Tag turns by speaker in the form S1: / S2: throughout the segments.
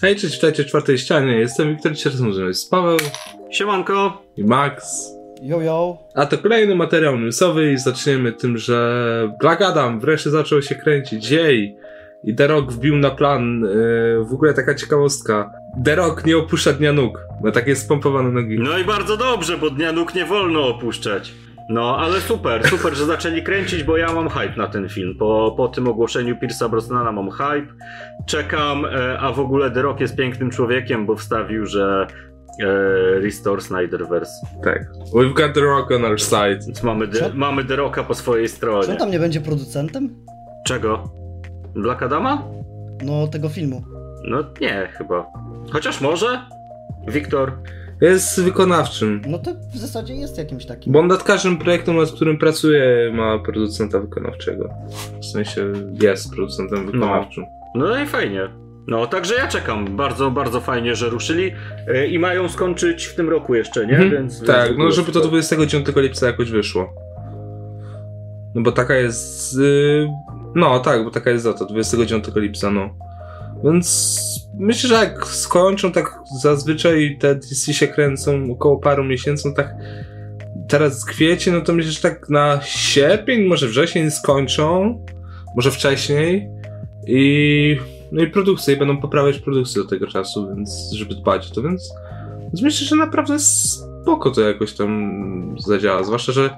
S1: Hej, cześć, witajcie w czwartej ścianie. Jestem Wiktor, dzisiaj razem możemy z Paweł
S2: Siemanko!
S1: i Max.
S3: Yo, yo.
S1: A to kolejny materiał newsowy i zaczniemy tym, że Black Adam wreszcie zaczął się kręcić. Jej! I The Rock wbił na plan. Yy, w ogóle taka ciekawostka. The Rock nie opuszcza dnia nóg. Ma takie spompowane nogi.
S2: No i bardzo dobrze, bo dnia nóg nie wolno opuszczać. No, ale super, super, że zaczęli kręcić, bo ja mam hype na ten film. Po, po tym ogłoszeniu Pierce'a Brosnana mam hype. Czekam, e, a w ogóle The Rock jest pięknym człowiekiem, bo wstawił, że e, Restore Snyderverse.
S1: Tak. We've got The Rock on our side.
S2: Więc mamy, The-
S3: Co?
S2: mamy The Rocka po swojej
S3: Czy on
S2: stronie.
S3: tam nie będzie producentem?
S2: Czego? Black Adama?
S3: No, tego filmu.
S2: No nie, chyba. Chociaż może? Wiktor,
S1: Jest wykonawczym.
S3: No to w zasadzie jest jakimś takim.
S1: Bo on nad każdym projektem, nad którym pracuje, ma producenta wykonawczego. W sensie jest producentem wykonawczym.
S2: No i fajnie. No, także ja czekam. Bardzo, bardzo fajnie, że ruszyli E, i mają skończyć w tym roku jeszcze, nie?
S1: Mhm.
S2: Więc,
S1: tak,
S2: więc
S1: no
S2: było
S1: żeby to
S2: super.
S1: 29 lipca jakoś wyszło. No bo taka jest. y, no tak, bo taka jest data, 29 lipca, no. Więc myślę, że jak skończą, tak zazwyczaj te DC się kręcą około paru miesięcy, no tak teraz kwiecie, no to myślę, że tak na sierpień, może wrzesień skończą, może wcześniej i no i produkcję, i będą poprawiać produkcję do tego czasu, więc żeby dbać o to, więc więc myślę, że naprawdę spoko to jakoś tam zadziała. Zwłaszcza, że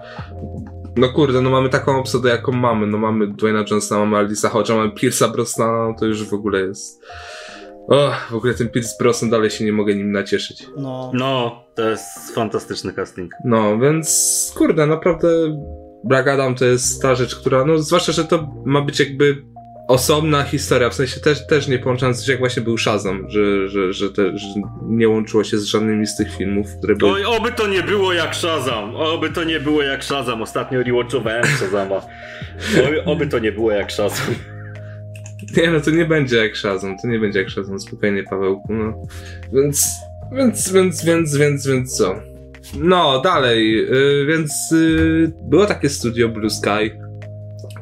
S1: no kurde, no mamy taką obsadę, jaką mamy. No mamy Dwayna Johnsona, mamy Alisa Hodge'a, mamy Pierce'a Brosnana, no to już w ogóle jest... Och, w ogóle ten Pierce Brosnan dalej się nie mogę nim nacieszyć.
S3: No.
S2: No, to jest fantastyczny casting.
S1: No, więc kurde, naprawdę Black Adam to jest ta rzecz, która, no zwłaszcza, że to ma być jakby osobna historia, w sensie też, też nie połączając się jak właśnie był Shazam, że, że, że, te, że nie łączyło się z żadnymi z tych filmów, które były...
S2: Oj, oby to nie było jak Shazam! Oby to nie było jak Shazam! Ostatnio rewatchowałem Shazama. Oj, oby to nie było jak Shazam.
S1: Nie no, to nie będzie jak Shazam, to nie będzie jak Shazam, spokojnie Pawełku, no. Więc, więc, więc, więc, więc, więc co? No, dalej, y, więc y, było takie studio Blue Sky,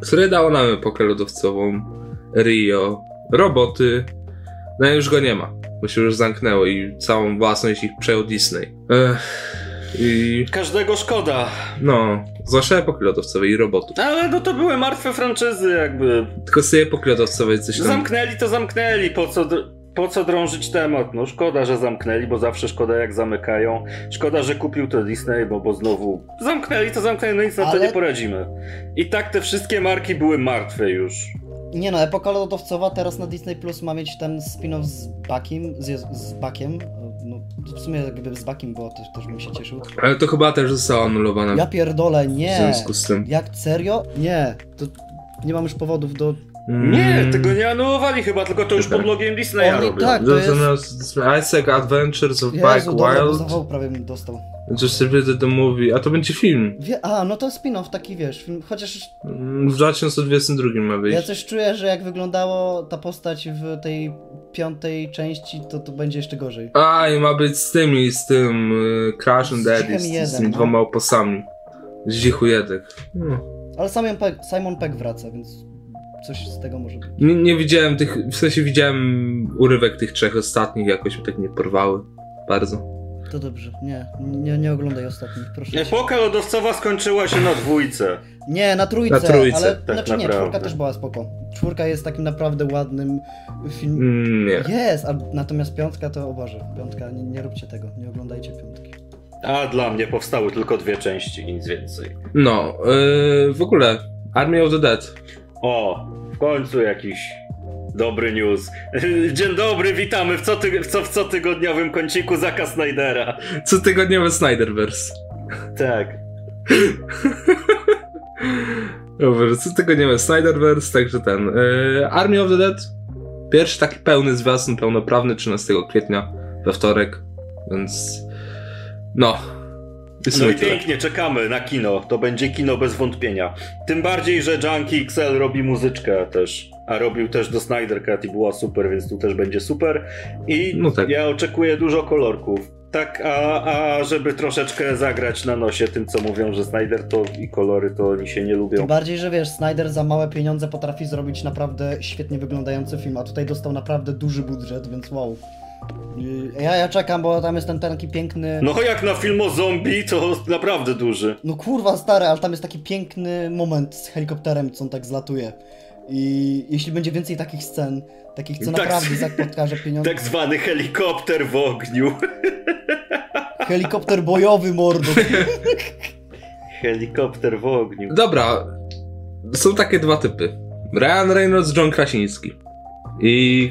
S1: które dało nam epokę lodowcową, Rio, roboty, no i już go nie ma, bo się już zamknęło i całą własność ich przejął Disney. Ech, I
S2: Każdego szkoda.
S1: no, zwłaszcza epoki lodowcowej i robotów.
S2: Ale no to były martwe franczyzy, jakby.
S1: Tylko z tej epoki lodowcowej coś tam...
S2: Zamknęli to zamknęli, po co, dr- po co drążyć temat? No szkoda, że zamknęli, bo zawsze szkoda jak zamykają. Szkoda, że kupił to Disney, bo, bo znowu zamknęli to zamknęli, no nic na to
S3: Ale-
S2: nie poradzimy. I tak te wszystkie marki były martwe już.
S3: Nie no, epoka lodowcowa teraz na Disney Plus ma mieć ten spin-off z Bakiem. Z, Jezu- z Bakiem. No, w sumie gdyby z Bakiem było, to też bym się cieszył.
S1: Ale to chyba też zostało anulowane
S3: Ja pierdolę,
S1: Tak. w
S3: nie.
S1: związku z tym.
S3: Jak serio? Nie. To nie mam już powodów do.
S2: Nie,
S1: Mm.
S2: tego nie anulowali chyba, tylko to już
S1: Super.
S2: pod logiem Disneya
S3: Oni-
S2: robią.
S3: tak. to jest-
S1: Zamiast Isaac Adventures of Bike
S3: Jezu, dobra, bo
S1: Wild
S3: zawał prawie bym dostał.
S1: distributed the movie, a to będzie film.
S3: Wie, a, no to spin-off taki wiesz. Film, chociaż
S1: Mm, W 2022 ma
S3: ja
S1: wyjść.
S3: coś czuję, że jak wyglądało ta postać w tej piątej części, to to będzie jeszcze gorzej.
S1: A, i ma być z tymi, z tym y, Crash and
S3: Z
S1: Daddy,
S3: Zichem
S1: z, z
S3: jeden,
S1: tymi
S3: no.
S1: dwoma oposami. Z Zichu jedek. No.
S3: Ale Simon Pegg, Simon Pegg wraca, więc coś z tego może być.
S1: Nie, nie widziałem tych, w sensie widziałem urywek tych trzech ostatnich, jakoś mi tak nie porwały. Bardzo.
S3: To dobrze. Nie, nie, nie oglądaj ostatnich, proszę. cię.
S2: Epoka lodowcowa skończyła się na dwójce.
S3: Nie, na trójce,
S1: Na trójce,
S3: ale
S2: tak
S3: znaczy nie,
S2: naprawdę.
S3: czwórka też była spoko. Czwórka jest takim naprawdę ładnym filmem.
S1: Mm, Nie.
S3: Jest, a natomiast piątka to o Boże, piątka, nie, nie róbcie tego, nie oglądajcie piątki.
S2: A dla mnie powstały tylko dwie części i nic więcej.
S1: No, y, w ogóle Army of the Dead.
S2: O, w końcu jakiś dobry news. Dzień dobry, witamy w, co ty, w, co, w cotygodniowym kąciku Zaka Snydera.
S1: Cotygodniowy Snyderverse.
S2: Tak.
S1: Dobra, co tego nie wiem, Snyderverse, także ten. Yy, Army of the Dead. Pierwszy taki pełny zwiastun, pełnoprawny 13 kwietnia we wtorek, więc no. I tak. w
S2: No
S1: sumie
S2: i
S1: tyle.
S2: pięknie, czekamy na kino. To będzie kino bez wątpienia. Tym bardziej, że Junkie XL robi muzyczkę też. A robił też do Snyder Cut i była super, więc tu też będzie super. I
S1: No tak.
S2: ja oczekuję dużo kolorków. Tak, a, a żeby troszeczkę zagrać na nosie tym, co mówią, że Snyder to i kolory to oni się nie lubią.
S3: Tym bardziej, że wiesz, Snyder za małe pieniądze potrafi zrobić naprawdę świetnie wyglądający film, a tutaj dostał naprawdę duży budżet, więc wow. Yy, Ja, ja czekam, bo tam jest ten taki piękny.
S2: No jak na film o zombie, to naprawdę duży.
S3: No kurwa stary, ale tam jest taki piękny moment z helikopterem, co on tak zlatuje. I jeśli będzie więcej takich scen, takich co
S2: Tak.
S3: naprawdę Zak podkaże pieniądze.
S2: Tak zwany helikopter w ogniu.
S3: Helikopter bojowy mordo.
S2: Helikopter w ogniu.
S1: Dobra, są takie dwa typy. Ryan Reynolds, John Krasiński. I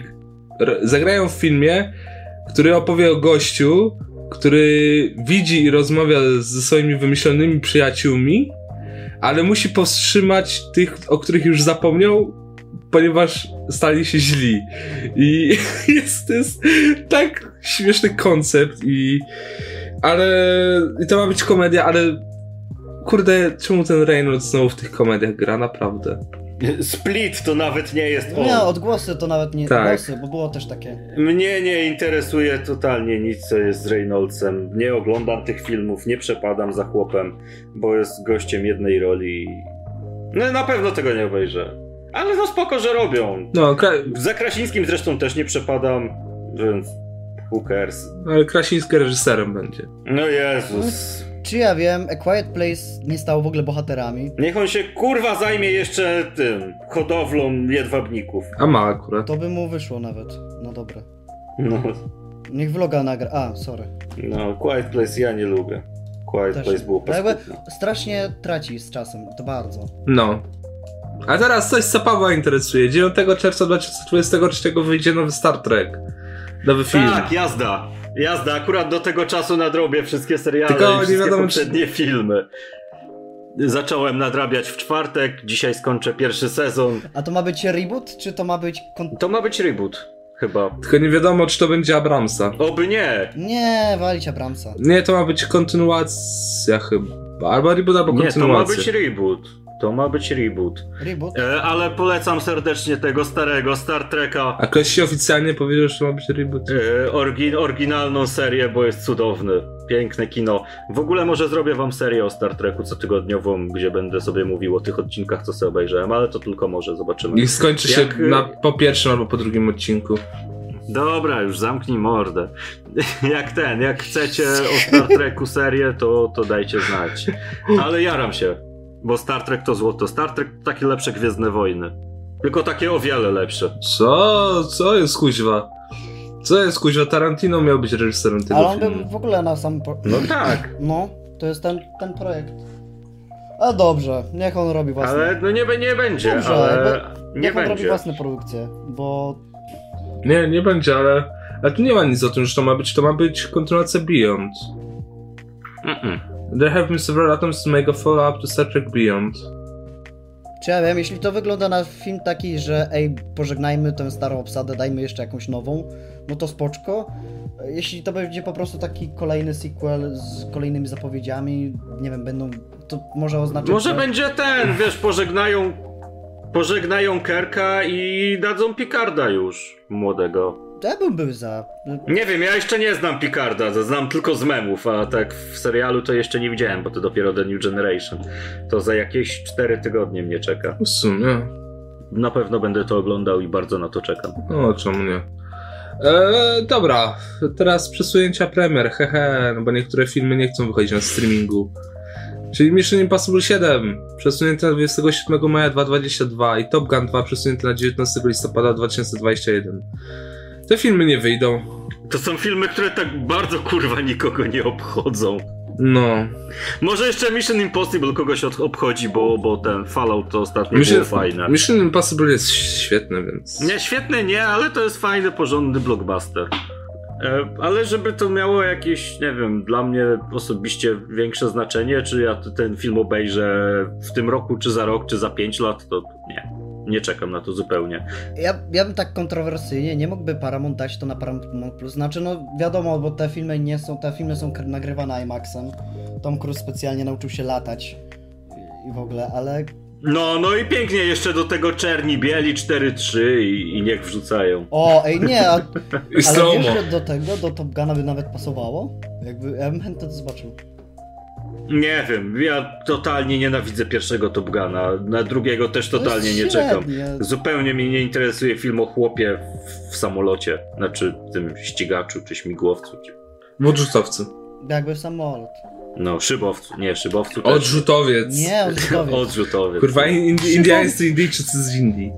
S1: r- zagrają w filmie, który opowie o gościu, który widzi i rozmawia ze swoimi wymyślonymi przyjaciółmi, ale musi powstrzymać tych, o których już zapomniał, ponieważ stali się źli. I jest to jest tak śmieszny koncept i... Ale... I to ma być komedia, ale Kurde, czemu ten Reynolds znowu w tych komediach gra, naprawdę?
S2: Split to nawet nie jest on.
S3: Nie, odgłosy to nawet nie
S1: Tak.
S3: odgłosy, bo było też takie.
S2: Mnie nie interesuje totalnie nic, co jest z Reynoldsem. Nie oglądam tych filmów, nie przepadam za chłopem, bo jest gościem jednej roli. i- No na pewno tego nie obejrzę. Ale no spoko, że robią.
S1: No, Kra
S2: Za Krasińskim zresztą też nie przepadam, więc who cares.
S1: ale Krasiński reżyserem będzie.
S2: No Jezus.
S3: Czy ja wiem, A Quiet Place nie stało w ogóle bohaterami.
S2: Niech on się kurwa zajmie jeszcze tym hodowlą jedwabników.
S1: A ma akurat.
S3: To by mu wyszło nawet. No dobra.
S2: No,
S3: Niech vloga nagra. A, sorry.
S2: no Quiet Place ja nie lubię. Quiet
S3: Też
S2: Place
S3: nie.
S2: było
S3: No jakby-
S2: paskudne.
S3: Strasznie traci z czasem, to bardzo.
S1: No. A teraz coś, co Pawła interesuje. 9 czerwca 2023 wyjdzie nowy Star Trek. Nowy film.
S2: Tak, jazda. Jazda, akurat do tego czasu nadrobię wszystkie seriale
S1: Tylko
S2: i
S1: nie
S2: wszystkie
S1: wiadomo,
S2: poprzednie filmy. Zacząłem nadrabiać w czwartek, dzisiaj skończę pierwszy sezon.
S3: A to ma być reboot, czy to ma być. Kon...
S2: To ma być reboot, chyba.
S1: Tylko nie wiadomo, czy to będzie Abramsa.
S2: Oby nie!
S3: Nie, walić Abramsa.
S1: Nie, to ma być kontynuacja chyba. Albo reboot, albo
S2: Nie, to ma
S1: kontynuacja.
S2: być reboot. To ma być reboot.
S3: Reboot?
S2: E, ale polecam serdecznie tego starego Star Treka.
S1: A ktoś się oficjalnie powiedział, że to ma być reboot.
S2: E, orgi- oryginalną serię, bo jest cudowny. Piękne kino. W ogóle może zrobię wam serię o Star Treku cotygodniową, gdzie będę sobie mówił o tych odcinkach, co sobie obejrzałem, ale to tylko może, zobaczymy.
S1: Niech skończy się
S2: Jak, y-
S1: na, po pierwszym albo po drugim odcinku.
S2: Dobra, już zamknij mordę. Jak ten, jak chcecie o Star Treku serię, to, to dajcie znać. Ale jaram się, bo Star Trek to złoto. Star Trek to takie lepsze Gwiezdne Wojny. Tylko takie o wiele lepsze.
S1: Co? Co jest kuźwa? Co jest kuźwa? Tarantino miał być reżyserem tego
S3: Ale on
S1: filmu.
S3: był w ogóle na sam. Po...
S2: No tak,
S3: No, to jest ten, ten projekt. A dobrze, niech on robi własne.
S2: ale no nie, be- nie będzie,
S3: Dobrze,
S2: ale nie
S3: niech on robi
S2: będzie.
S3: własne produkcje, bo.
S1: Nie, nie będzie, ale... Ale tu nie ma nic o tym, że to ma być. To ma być kontynuacja Beyond.
S2: Mm-mm.
S1: There have been several attempts to make a follow-up to Star Trek Beyond.
S3: Czy ja wiem, jeśli to wygląda na film taki, że ej, pożegnajmy tę starą obsadę, dajmy jeszcze jakąś nową, no to spoczko. Jeśli to będzie po prostu taki kolejny sequel z kolejnymi zapowiedziami, nie wiem, będą. To może oznaczać.
S2: Może
S3: że-
S2: będzie ten, wiesz, pożegnają pożegnają Kerka i dadzą Picarda już młodego.
S3: To ja bym był za.
S2: Nie wiem, ja jeszcze nie znam Picarda, to znam tylko z memów, a tak w serialu to jeszcze nie widziałem, bo to dopiero The New Generation. To za jakieś 4 tygodnie mnie czeka.
S1: W sumie.
S2: Na pewno będę to oglądał i bardzo na to czekam.
S1: No, czemu nie? Eee, dobra, teraz przesunięcia premier, hehe, no bo niektóre filmy nie chcą wychodzić na streamingu. Czyli Mission Impossible 7 przesunięte na 27 maja 2022 i Top Gun 2 przesunięte na 19 listopada 2021. Te filmy nie wyjdą.
S2: To są filmy, które tak bardzo kurwa nikogo nie obchodzą.
S1: No.
S2: Może jeszcze Mission Impossible kogoś od- obchodzi, bo, bo ten Fallout to ostatnio
S1: Mission,
S2: było fajne.
S1: Mission Impossible jest świetny, więc.
S2: Nie, świetny nie, ale to jest fajny, porządny blockbuster. E, Ale żeby to miało jakieś, nie wiem, dla mnie osobiście większe znaczenie, czy ja t- ten film obejrzę w tym roku, czy za rok, czy za pięć lat, to nie. Nie czekam na to zupełnie.
S3: Ja, ja bym tak kontrowersyjnie, nie mógłby Paramount dać to na Paramount Plus. Znaczy, no wiadomo, bo te filmy nie są, te filmy są kr- nagrywane IMAXem. Tom Cruise specjalnie nauczył się latać i- i w ogóle, ale
S2: No, no i pięknie jeszcze do tego czerni bieli 4-3 i, i niech wrzucają.
S3: O, ej, nie, a,
S1: I
S3: ale
S1: stromo.
S3: wiesz, że do tego, do Top Guna by nawet pasowało? Jakby, ja bym chętnie to zobaczył.
S2: Nie wiem, ja totalnie nienawidzę pierwszego Top Guna, na drugiego też
S3: To jest
S2: totalnie nie czekam.
S3: średnie.
S2: Zupełnie mnie nie interesuje film o chłopie w, w samolocie, znaczy tym ścigaczu czy śmigłowcu. Czy...
S1: W odrzutowcu.
S3: Jakby samolot.
S2: No, szybowcu, nie, szybowcu też.
S1: Odrzutowiec.
S3: Nie, odrzutowiec.
S2: Odrzutowiec.
S1: Kurwa, Indi- indyjscy Indyjczycy z Indii.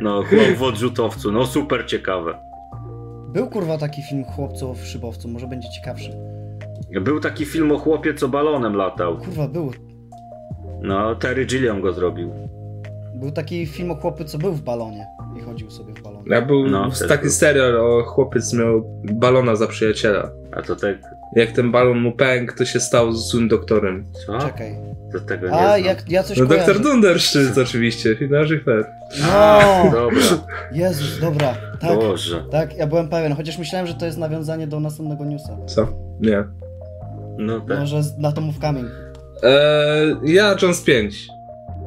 S2: No, chłop w odrzutowcu, no super ciekawe.
S3: Był kurwa taki film Chłopcu w szybowcu, może będzie ciekawszy.
S2: Był taki film o chłopie, co balonem latał.
S3: Kurwa, był.
S2: No, Terry Gilliam go zrobił.
S3: Był taki film o chłopy, co był w balonie i chodził sobie w balonie.
S1: Ja był
S2: No,
S1: w-
S2: też
S1: taki
S2: był.
S1: serial, o chłopiec miał balona za przyjaciela.
S2: A to tak...
S1: Jak ten balon mu pękł, to się stał złym doktorem.
S2: Co?
S3: Czekaj.
S2: To tego nie
S3: Tak. A,
S2: znam.
S3: jak, ja coś
S1: No
S3: kojarzę.
S1: doktor Dunderszczyc oczywiście, Finarzy Fair.
S2: A,
S3: No!
S2: Dobra,
S3: Jezus, dobra. Tak,
S2: Boże.
S3: tak, ja byłem pewien, chociaż myślałem, że to jest nawiązanie do następnego newsa.
S1: Co? Nie.
S2: No tak.
S3: Może z- na to mów kamień.
S1: Eee, ja Jones 5.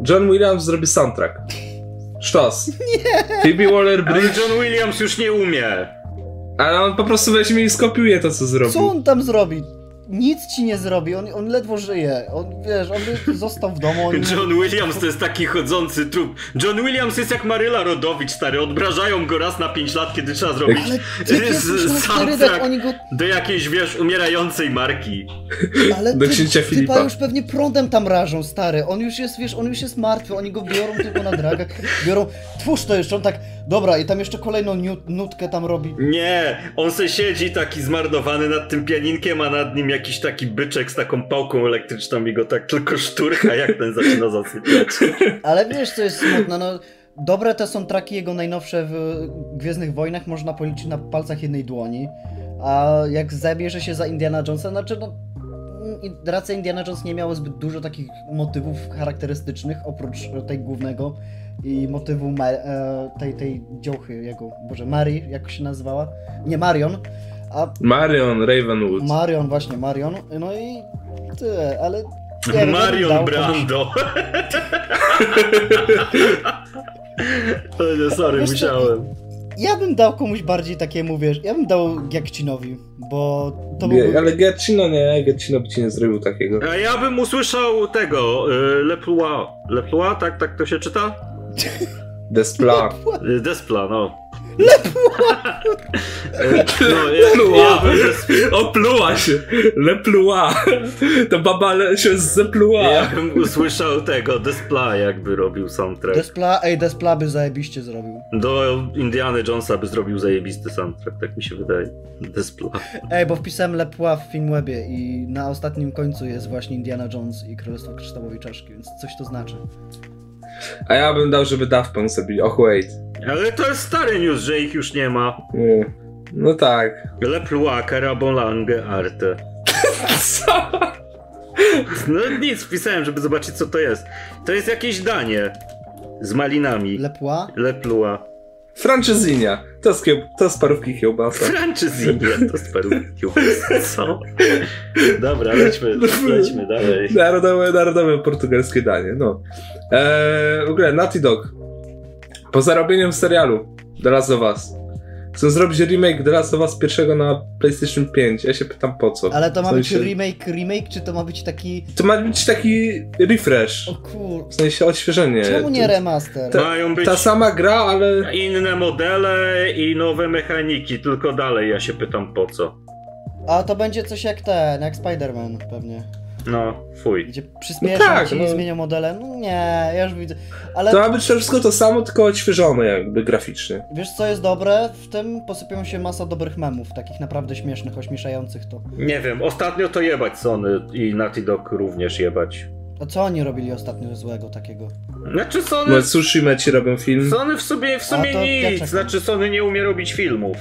S1: John Williams zrobi soundtrack. Sztos. Nie. Phoebe
S3: No.
S2: Ale
S1: Waller-Bridge,
S2: John Williams już nie umie.
S1: ale on po prostu weźmie i skopiuje to, co zrobił.
S3: Co on tam zrobi? Nic ci nie zrobi, on, on ledwo żyje. On, wiesz, on by został w domu. On...
S2: John Williams to jest taki chodzący trup. John Williams jest jak Maryla Rodowicz, stary. Odbrażają go raz na 5 lat, kiedy trzeba zrobić
S3: Ale
S2: To
S3: ty
S2: jest
S3: jest
S2: soundtrack.
S3: starydek, tak, oni go...
S2: do jakiejś, wiesz, umierającej marki.
S3: Ale
S1: Do
S3: ty,
S1: księcia
S3: typa
S1: Filipa.
S3: już pewnie prądem tam rażą, stary. On już jest, wiesz, on już jest martwy, oni go biorą tylko na dragach. Biorą, twórz to jeszcze, on tak, dobra, i tam jeszcze kolejną niut, nutkę tam robi.
S2: Nie, on se siedzi taki zmarnowany nad tym pianinkiem, a nad nim jakiś taki byczek z taką pałką elektryczną i go tak tylko szturcha, jak ten zaczyna zasypiać.
S3: Ale wiesz, co jest smutne, no... Dobre te są traki jego najnowsze w Gwiezdnych Wojnach można policzyć na palcach jednej dłoni. A jak zabierze się za Indiana Jonesa, znaczy no... i- Racja Indiana Jones nie miało zbyt dużo takich motywów charakterystycznych, oprócz tej głównego i motywu Ma- e, tej, tej dziołchy jego, boże, Mary, jak się nazywała? Nie, Marion. A
S1: Marion Ravenwood.
S3: Marion, właśnie, Marion. No i tyle, ale... nie wiem, ja bym
S2: Marion
S3: dał
S2: Brando. O nie, sorry,
S3: Wiesz co,
S2: musiałem.
S3: Ja bym dał komuś bardziej takiemu, wiesz, ja bym dał Giakcinowi, bo to
S1: Nie,
S3: byłby...
S1: ale Gercino nie, Gercino by ci nie zrobił takiego.
S2: A ja bym usłyszał tego, y, Leplua. Leplua, tak, tak to się czyta?
S1: Despla.
S2: Y, Despla, no. Leplua! no, ja, ja
S1: Leplua.
S2: bym zes-
S1: Opluła się! Lepluła! To baba le- się zepluła!
S2: Ja bym usłyszał tego Despla, jakby robił soundtrack.
S3: Despla, ej, Despla by zajebiście zrobił.
S2: Do Indiana Jonesa by zrobił zajebisty soundtrack, tak mi się wydaje. Despla.
S3: Ej, bo wpisałem Lepła w Filmwebie i na ostatnim końcu jest właśnie Indiana Jones i Królestwo Kryształowej Czaszki, więc coś to znaczy.
S1: A ja bym dał, żeby Daft Punk sobie... Och, wait.
S2: Ale to jest stary news, że ich już nie ma.
S1: Nie. No tak.
S2: Leplua, Karabolange, Arte.
S1: Co?
S2: No nic, wpisałem, żeby zobaczyć co to jest. To jest jakieś danie z malinami.
S3: Lepła?
S2: Leplua.
S1: Franczyzinia. To z, kiełb- to z parówki kiełbasa.
S2: Franczyzinga, to z perłówki. Co? Dobra, lećmy, lećmy dalej.
S1: No, Narodowe, narodowe portugalskie danie, no. Eee, w ogóle Naughty Dog. Po zarobieniu w serialu The Last of Us. Chcą zrobić remake The Last of Us pierwszego na PlayStation 5. Ja się pytam po co.
S3: Ale to ma
S1: W
S3: być
S1: sensie-
S3: remake, remake, czy to ma być taki...
S1: To ma być taki refresh.
S3: O kur...
S1: W sensie odświeżenie.
S3: Czemu nie
S1: To-
S3: remaster?
S1: Ta-
S2: Mają być
S1: Ta sama gra, ale.
S2: inne modele i nowe mechaniki, tylko dalej ja się pytam po co.
S3: A to będzie coś jak ten, jak Spider-Man pewnie.
S2: No, fuj.
S3: Gdzie przyspieszą
S1: No tak,
S3: ci
S1: no.
S3: i zmienią modele. No nie, ja już widzę. Ale...
S1: To ma być wszystko to samo, tylko odświeżone jakby graficznie.
S3: Wiesz co jest dobre? W tym posypią się masa dobrych memów, takich naprawdę śmiesznych, ośmieszających to.
S2: Nie wiem, ostatnio to jebać Sony i Naughty Dog również jebać.
S3: A co oni robili ostatnio złego takiego?
S2: Znaczy Sony,
S1: No sushi meci robią film.
S2: Sony w sumie, w sumie
S3: A to ja
S2: nic,
S3: czekam.
S2: znaczy Sony nie umie robić filmów.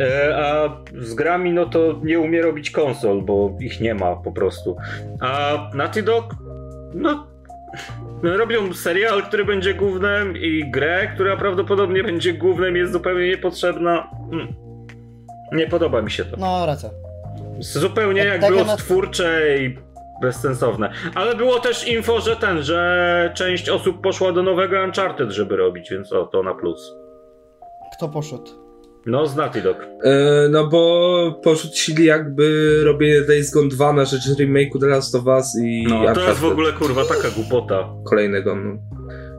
S2: E, A z grami no to nie umie robić konsol, bo ich nie ma po prostu. A Naughty Dog, no robią serial, który będzie głównym i grę, która prawdopodobnie będzie głównym, jest zupełnie niepotrzebna. Mm. Nie podoba mi się to.
S3: No, racja.
S2: Zupełnie
S3: Tak-
S2: jakby
S3: tak ja
S2: od
S3: na-
S2: twórczej bezsensowne. Ale było też info, że ten, że część osób poszła do nowego Uncharted, żeby robić, więc o, to na plus.
S3: Kto poszedł?
S2: No, z Naughty Dog.
S1: E, No bo porzucili jakby robienie Days Gone 2 na rzecz remake'u The Last of Us i
S2: No, to
S1: Uncharted
S2: jest w ogóle kurwa taka głupota.
S1: kolejnego. No.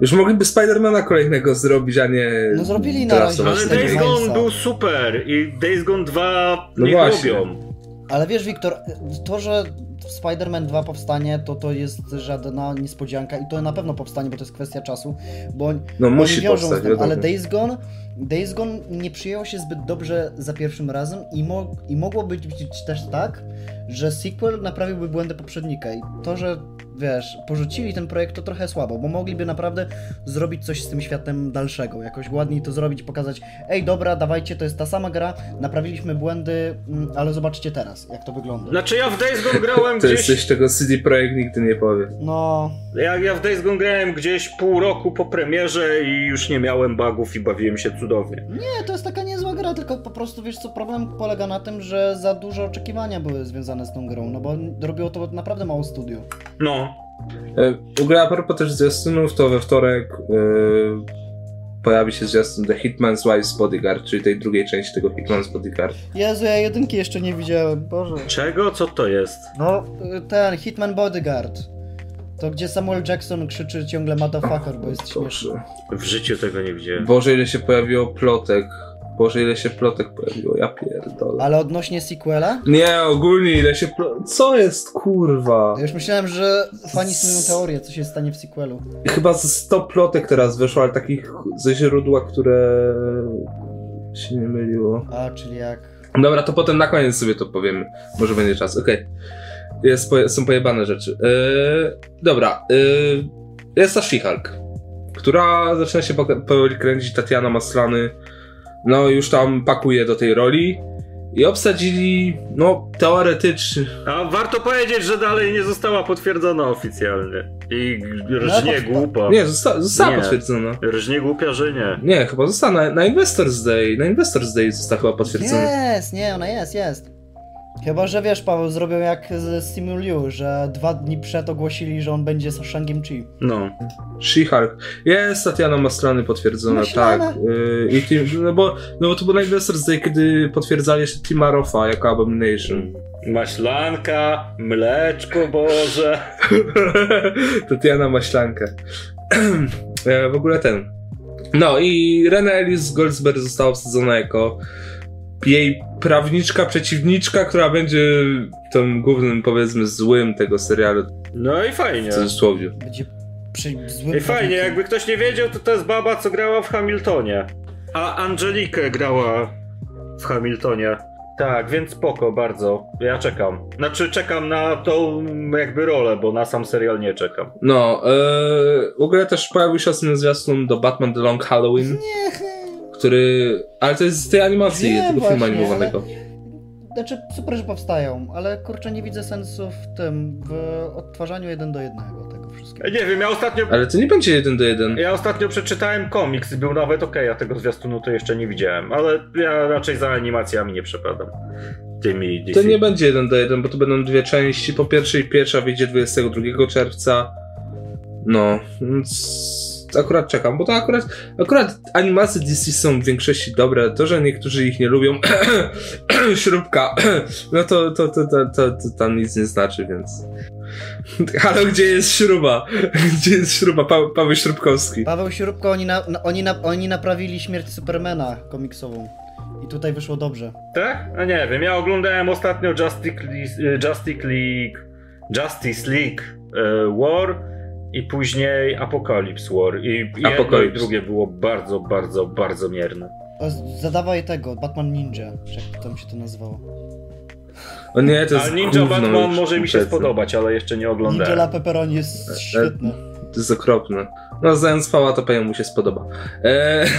S1: Już mogliby Spidermana kolejnego zrobić, a nie
S3: No zrobili
S1: The
S3: na
S1: Last
S3: razie.
S1: of Us.
S2: Ale
S3: Właśnie
S2: Days
S3: nie
S2: Gone
S3: Minesa.
S2: był super i Days Gone 2
S1: No
S2: niech
S1: właśnie.
S2: robią.
S3: Ale wiesz, Wiktor, to, że Spider-Man 2 powstanie, to to jest żadna niespodzianka i to na pewno powstanie, bo to jest kwestia czasu, bo oni
S1: No musi
S3: wiążą z
S1: powstać,
S3: tym,
S1: wiadomo.
S3: ale Days Gone, Days Gone nie przyjęło się zbyt dobrze za pierwszym razem i, mo i mogło być, być też tak, że sequel naprawiłby błędy poprzednika i to, że wiesz, porzucili ten projekt to trochę słabo, bo mogliby naprawdę zrobić coś z tym światem dalszego, jakoś ładniej to zrobić, pokazać, ej dobra, dawajcie, to jest ta sama gra, naprawiliśmy błędy, mm, ale zobaczcie teraz, jak to wygląda.
S2: Znaczy ja w Days Gone grałem
S1: To
S2: gdzieś...
S1: jest coś, czego CD Projekt nigdy nie powie.
S3: No,
S2: Ja, ja w Days Gone grałem gdzieś pół roku po premierze i już nie miałem bugów i bawiłem się cudownie.
S3: nie, to jest taka niezła gra, tylko po prostu wiesz co, problem polega na tym, że za duże oczekiwania były związane z tą grą, no bo robiło to naprawdę mało studio.
S2: No.
S1: E, W ogóle a propos też zwiastunów, to we wtorek e, pojawi się zwiastun The Hitman's Wife's Bodyguard, czyli tej drugiej części tego Hitman's Bodyguard.
S3: Jezu, ja jedynki jeszcze nie widziałem, Boże.
S2: Czego? Co to jest?
S3: No, y, ten Hitman Bodyguard. To gdzie Samuel Jackson krzyczy ciągle motherfucker, bo jest śmieszny.
S1: Boże.
S2: W życiu tego nie widziałem.
S1: Boże, ile się pojawiło plotek. Boże, ile się plotek pojawiło, ja pierdolę.
S3: Ale odnośnie sequela?
S1: Nie, ogólnie ile się plo... Co jest, kurwa?
S3: Ja już myślałem, że fani snują teorię, co się stanie w sequelu.
S1: Chyba ze 100 plotek teraz wyszło, ale takich ze źródła, które się nie myliło.
S3: A, czyli jak...
S1: Dobra, to potem na koniec sobie to powiemy. Może będzie czas. Okej. Jest poje- są pojebane rzeczy. Yy, dobra. Yy, jest ta She-Hulk, która zaczyna się poka- powoli kręcić. Tatiana Maslany, no już tam pakuje do tej roli. I obsadzili, no teoretycznie,
S2: A warto powiedzieć, że dalej nie została potwierdzona oficjalnie. I rżnie
S3: No, bo-
S2: głupa.
S1: nie, zosta- została
S2: Nie.
S1: potwierdzona.
S2: Rżnie głupia, że nie.
S1: Nie, chyba została na, na Investors Day. Na Investors Day została chyba potwierdzona.
S3: Jest, nie, ona jest, jest. Chyba, że wiesz, Paweł, zrobią jak z Simu Liu, że dwa dni przed ogłosili, że on będzie z Shangiem Chi.
S2: No.
S1: She-Hulk. Jest Tatiana Maslany potwierdzona,
S3: Maslany.
S1: tak. Y, I team, no, bo, no bo to był najwyższy z kiedy potwierdzali jeszcze Tima Roffa jako Abomination.
S2: Mm. Maślanka, mleczko Boże.
S1: Tatiana Maślankę. E, w ogóle ten. No i Rena Ellis Goldsberg została obsadzona jako jej prawniczka, przeciwniczka, która będzie tym głównym, powiedzmy, złym tego serialu,
S2: No i fajnie.
S1: w cudzysłowie.
S3: Będzie przy złym...
S2: I fajnie,
S3: zawodnikiem.
S2: jakby ktoś nie wiedział, to to jest baba, co grała w Hamiltonie. A Angelikę grała w Hamiltonie. Tak, więc spoko, bardzo. Ja czekam. Znaczy, czekam na tą jakby rolę, bo na sam serial nie czekam.
S1: No, e, w ogóle też pojawił się ostatnio zwiastun do Batman The Long Halloween.
S3: Nie, he.
S1: który. Ale to jest z tej animacji,
S3: Wiem
S1: tego filmu
S3: właśnie,
S1: animowanego.
S3: Znaczy, super, że powstają, ale kurczę, nie widzę sensu w tym, w odtwarzaniu jeden do jednego tego wszystkiego.
S2: Nie wiem, ja ostatnio.
S1: Ale to nie będzie jeden do jeden.
S2: Ja ostatnio przeczytałem komiks i był nawet okej, a tego zwiastunu to jeszcze nie widziałem, ale ja raczej za animacjami nie przepadam. Tymi
S1: To
S2: DC.
S1: nie będzie jeden do jeden, bo to będą dwie części. Po pierwszej pierwsza wyjdzie 22 czerwca. No, więc akurat czekam, bo to akurat, akurat animacje DC są w większości dobre. To, że niektórzy ich nie lubią, śrubka, no to, to, to, to, to, to tam nic nie znaczy, więc... Halo, gdzie jest śruba? Gdzie jest śruba? Pa, Paweł Śrubkowski.
S3: Paweł Śrubko, oni, na, na- oni, na, oni naprawili śmierć Supermana komiksową. I tutaj wyszło dobrze.
S2: Tak? No nie wiem, ja oglądałem ostatnio Justice League, y, Justice League, Justice League e, War i później Apocalypse War. I jedno i
S1: Apocalypse.
S2: drugie było bardzo, bardzo, bardzo mierne.
S3: O, z- Zadawaj tego, Batman Ninja, czy jak tam się to nazywało.
S1: O nie, to
S2: A
S1: jest
S2: Ninja
S1: gówno
S2: Batman
S1: już
S2: może mi się
S1: kompletne.
S2: spodobać, ale jeszcze nie
S3: Ninja La
S2: oglądałem. E,
S3: Pepperoni jest świetne.
S1: To jest okropne. No, zając pała, to pewnie mu się spodoba. Eee,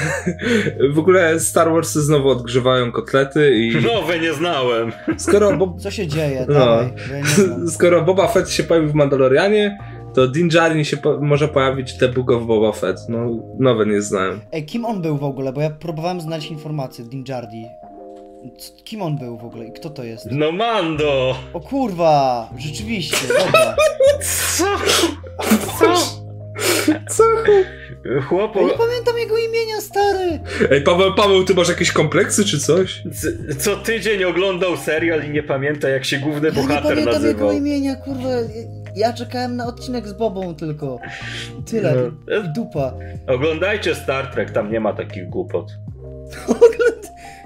S1: w ogóle Star Warsy znowu odgrzewają kotlety i
S2: Nowe nie znałem.
S1: skoro, Bob,
S3: Co się dzieje?
S1: No.
S3: Dawaj, bo ja nie znam.
S1: skoro Boba Fett się pojawił w Mandalorianie, to Din Djarin się po- może pojawić w The Book of Boba Fett. No, nowe nie znałem.
S3: Ej, kim on był w ogóle? Bo ja próbowałem znaleźć informacje od Ninjardi. C- Kim on był w ogóle i kto to jest?
S2: No Mando!
S3: O kurwa! Rzeczywiście, dobra.
S2: Co? Co?
S1: Co?
S2: Chłopu,
S3: Ja nie pamiętam jego imienia, stary!
S1: Ej, Paweł, Paweł, ty masz jakieś kompleksy czy coś?
S2: c- co tydzień oglądał serial i nie pamięta jak się główny
S3: Ja nie
S2: bohater
S3: pamiętam jego
S2: nazywał.
S3: imienia, kurwa. Ja czekałem na odcinek z Bobą tylko. Tyle.
S2: No.
S3: I dupa.
S2: Oglądajcie Star Trek, tam nie ma takich głupot.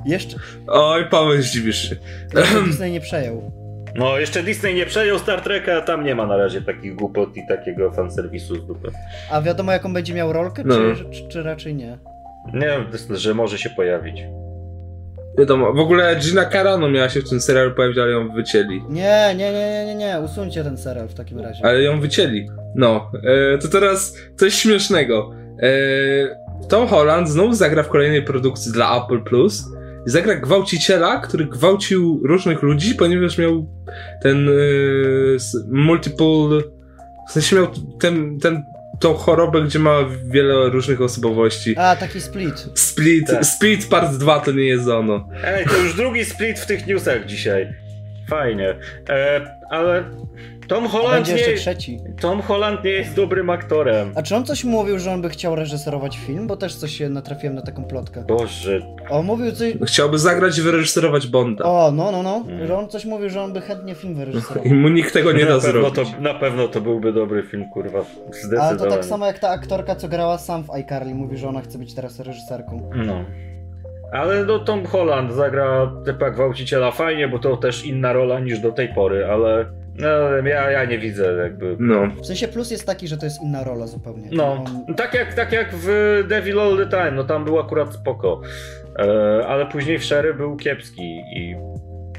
S3: Jeszcze
S1: Oj, Paweł, zdziwisz się.
S3: jeszcze Disney nie przejął.
S2: No, jeszcze Disney nie przejął Star Treka, tam nie ma na razie takich głupot i takiego fanserwisu z dupy.
S3: A wiadomo jaką będzie miał rolkę,
S1: No.
S3: czy, czy, czy raczej nie?
S2: Nie wiem, że może się pojawić.
S1: Wiadomo, w ogóle Gina Carano miała się w tym serialu pojawić, ale ją wycięli.
S3: Nie, nie, nie, nie, nie, nie. Usuńcie ten serial w takim razie.
S1: Ale ją wycięli. No, e, to teraz coś śmiesznego. E, Tom Holland znów zagra w kolejnej produkcji dla Apple Plus. Zagra gwałciciela, który gwałcił różnych ludzi, ponieważ miał ten e, s- multiple. W sensie miał ten, ten, tą chorobę, gdzie ma wiele różnych osobowości.
S3: A, taki split.
S1: Split,
S2: Tak.
S1: Split Part 2 to nie jest ono.
S2: Ej, to już drugi split w tych newsach dzisiaj. Fajnie. E, ale Tom
S3: A
S2: Holland,
S3: będzie jeszcze
S2: nie,
S3: trzeci.
S2: Tom Holland nie jest dobrym aktorem.
S3: A czy on coś mówił, że on by chciał reżyserować film? Bo też coś się natrafiłem na taką plotkę.
S2: Boże,
S3: O, mówił coś...
S1: Chciałby zagrać i wyreżyserować Bonda.
S3: O, no, no, no.
S2: Mm.
S3: Że on coś mówił, że on by chętnie film
S1: I
S3: wyreżyserował.
S1: mu nikt tego nie
S2: na,
S1: da
S2: pewno
S1: zrobić.
S2: to, na pewno to byłby dobry film, kurwa. Zdecydowanie.
S3: Ale to tak samo jak ta aktorka, co grała sam w iCarly, mówi, że ona chce być teraz reżyserką.
S2: No. Ale no Tom Holland zagra typa gwałciciela fajnie, bo to też inna rola niż do tej pory, ale no, ja, ja nie widzę jakby.
S1: No.
S3: W sensie plus jest taki, że to jest inna rola zupełnie.
S2: No,
S3: On-
S2: tak jak, tak jak w Devil All The Time, no tam był akurat spoko, e, ale później w Sherry był kiepski i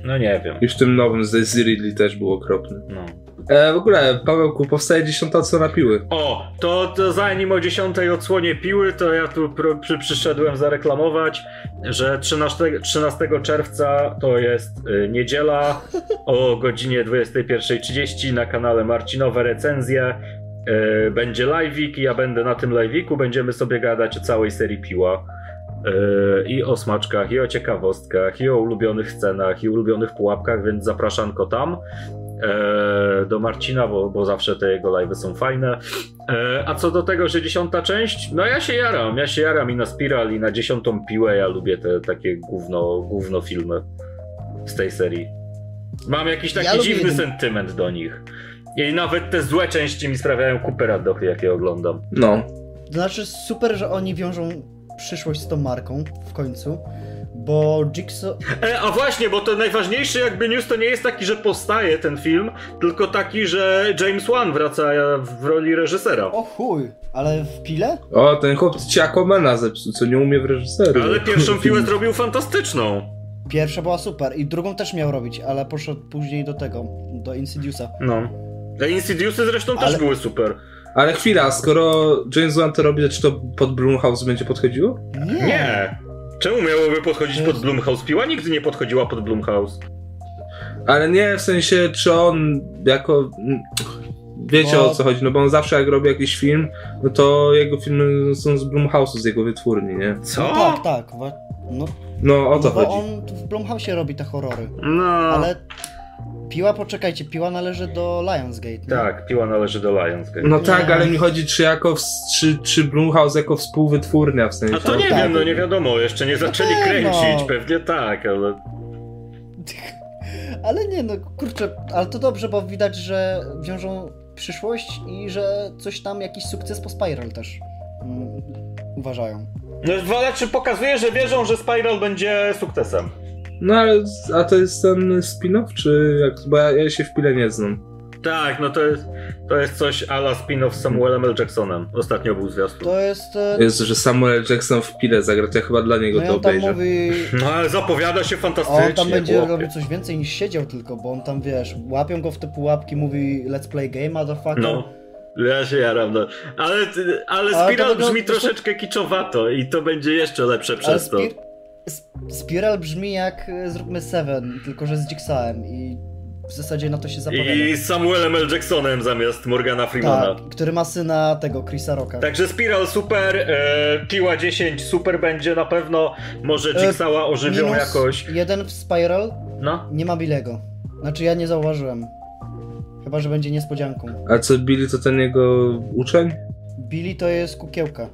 S2: no nie wiem.
S1: I w tym nowym z Daisy Ridley też był okropny.
S2: No.
S1: E, w ogóle, Pawełku, powstaje dziesiąta co napiły.
S2: O, to, to zanim o 10 odsłonie piły, to ja tu pro, przy, przyszedłem zareklamować, że 13, 13 czerwca to jest y, niedziela o godzinie 21.30 na kanale Marcinowe Recenzje. Y, będzie live'ik i ja będę na tym live'iku, będziemy sobie gadać o całej serii piła. Y, I o smaczkach, i o ciekawostkach, i o ulubionych scenach, i ulubionych pułapkach, więc zapraszanko tam e, do Marcina, bo, bo zawsze te jego live'y są fajne. E, a co do tego, że dziesiąta część, no ja się jaram, ja się jaram i na Spiral i na dziesiątą piłę, ja lubię te takie gówno, gówno filmy z tej serii. Mam jakiś taki
S3: Ja lubię
S2: dziwny
S3: jeden.
S2: sentyment do nich. I nawet te złe części mi sprawiają kupę radochy, jak je oglądam.
S1: No.
S3: To znaczy super, że oni wiążą przyszłość z tą marką w końcu, bo Jigsaw...
S2: E, a właśnie, bo to najważniejszy jakby news to nie jest taki, że powstaje ten film, tylko taki, że James Wan wraca e, w roli reżysera.
S3: O chuj, ale w pile?
S1: O, ten chłop ci Aquamana zepsuł, co nie umie w reżyserii.
S2: Ale pierwszą piłę zrobił fantastyczną.
S3: Pierwsza była super i drugą też miał robić, ale poszedł później do tego, do Insidiousa.
S2: No. Te Insidiusy zresztą
S3: Ale-
S2: też były super.
S1: Ale chwila, skoro James Wan to robi, to czy to pod Blumhouse będzie podchodziło?
S3: Nie!
S2: Nie. Czemu miałoby podchodzić pod
S3: Jezu.
S2: Blumhouse? Piła nigdy nie podchodziła pod Blumhouse.
S1: Ale nie, w sensie, czy on jako... mm, Wiecie
S3: No.
S1: o co chodzi, no bo on zawsze jak robi jakiś film, no to jego filmy są z Blumhouse'u, z jego wytwórni, nie?
S2: Co?
S3: No tak, tak. wa- No,
S1: No, o
S3: no
S1: to
S3: bo
S1: chodzi.
S3: on w Blumhouse robi te horrory,
S2: No.
S3: ale piła, poczekajcie, piła należy do Lionsgate, nie?
S2: Tak, piła należy do Lionsgate.
S1: No tak, ale mi chodzi, czy jako, ws- czy, czy Blumhouse jako współwytwórnia, w sensie.
S2: A to nie
S3: tak.
S2: wiem, no nie wiadomo, jeszcze nie zaczęli
S3: pewno.
S2: kręcić, pewnie tak, ale...
S3: Ale nie, no kurczę, ale to dobrze, bo widać, że wiążą przyszłość i że coś tam, jakiś sukces po Spiral też mm, uważają.
S2: No ale czy pokazuje, że wierzą, że Spiral będzie sukcesem?
S1: No ale, a to jest ten spin-off, czy jak, bo ja, ja się w pile nie znam.
S2: Tak, no to jest, to jest coś a la spin-off z Samuelem L. Jacksonem. Ostatnio był zwiastun.
S3: To jest... e,
S1: Jezu, że Samuel Jackson w pile zagra, to ja chyba dla niego
S3: No i
S1: to
S3: on tam
S1: obejrzę.
S3: mówi...
S2: No ale zapowiada się
S3: A
S2: fantastycznie.
S3: on tam będzie
S2: chłopie.
S3: robił coś więcej niż siedział tylko, bo on tam, wiesz, łapią go w te pułapki, mówi let's play game, motherfucker.
S2: No. Ja się jaram, no. Ale, ale
S3: Ale to
S2: Spiral
S3: wygląda-
S2: brzmi troszeczkę kiczowato i to będzie jeszcze lepsze
S3: Ale
S2: przez to.
S3: spir... sp- Spiral brzmi jak e, zróbmy Seven, tylko że z Jigsawem i w zasadzie na to się zapowiada.
S2: I z Samuelem L. Jacksonem zamiast Morgana Freemana.
S3: Tak, który ma syna tego, Chrisa Rocka.
S2: Także Spiral super, e, Piła 10 super będzie na pewno, może
S3: E,
S2: Jigsawa ożywią
S3: Minus
S2: jakoś.
S3: jeden w Spiral
S2: No.
S3: nie ma Bilego. Znaczy ja nie zauważyłem. Chyba, że będzie niespodzianką.
S1: A co, Billy to ten jego uczeń?
S3: Billy to jest kukiełka.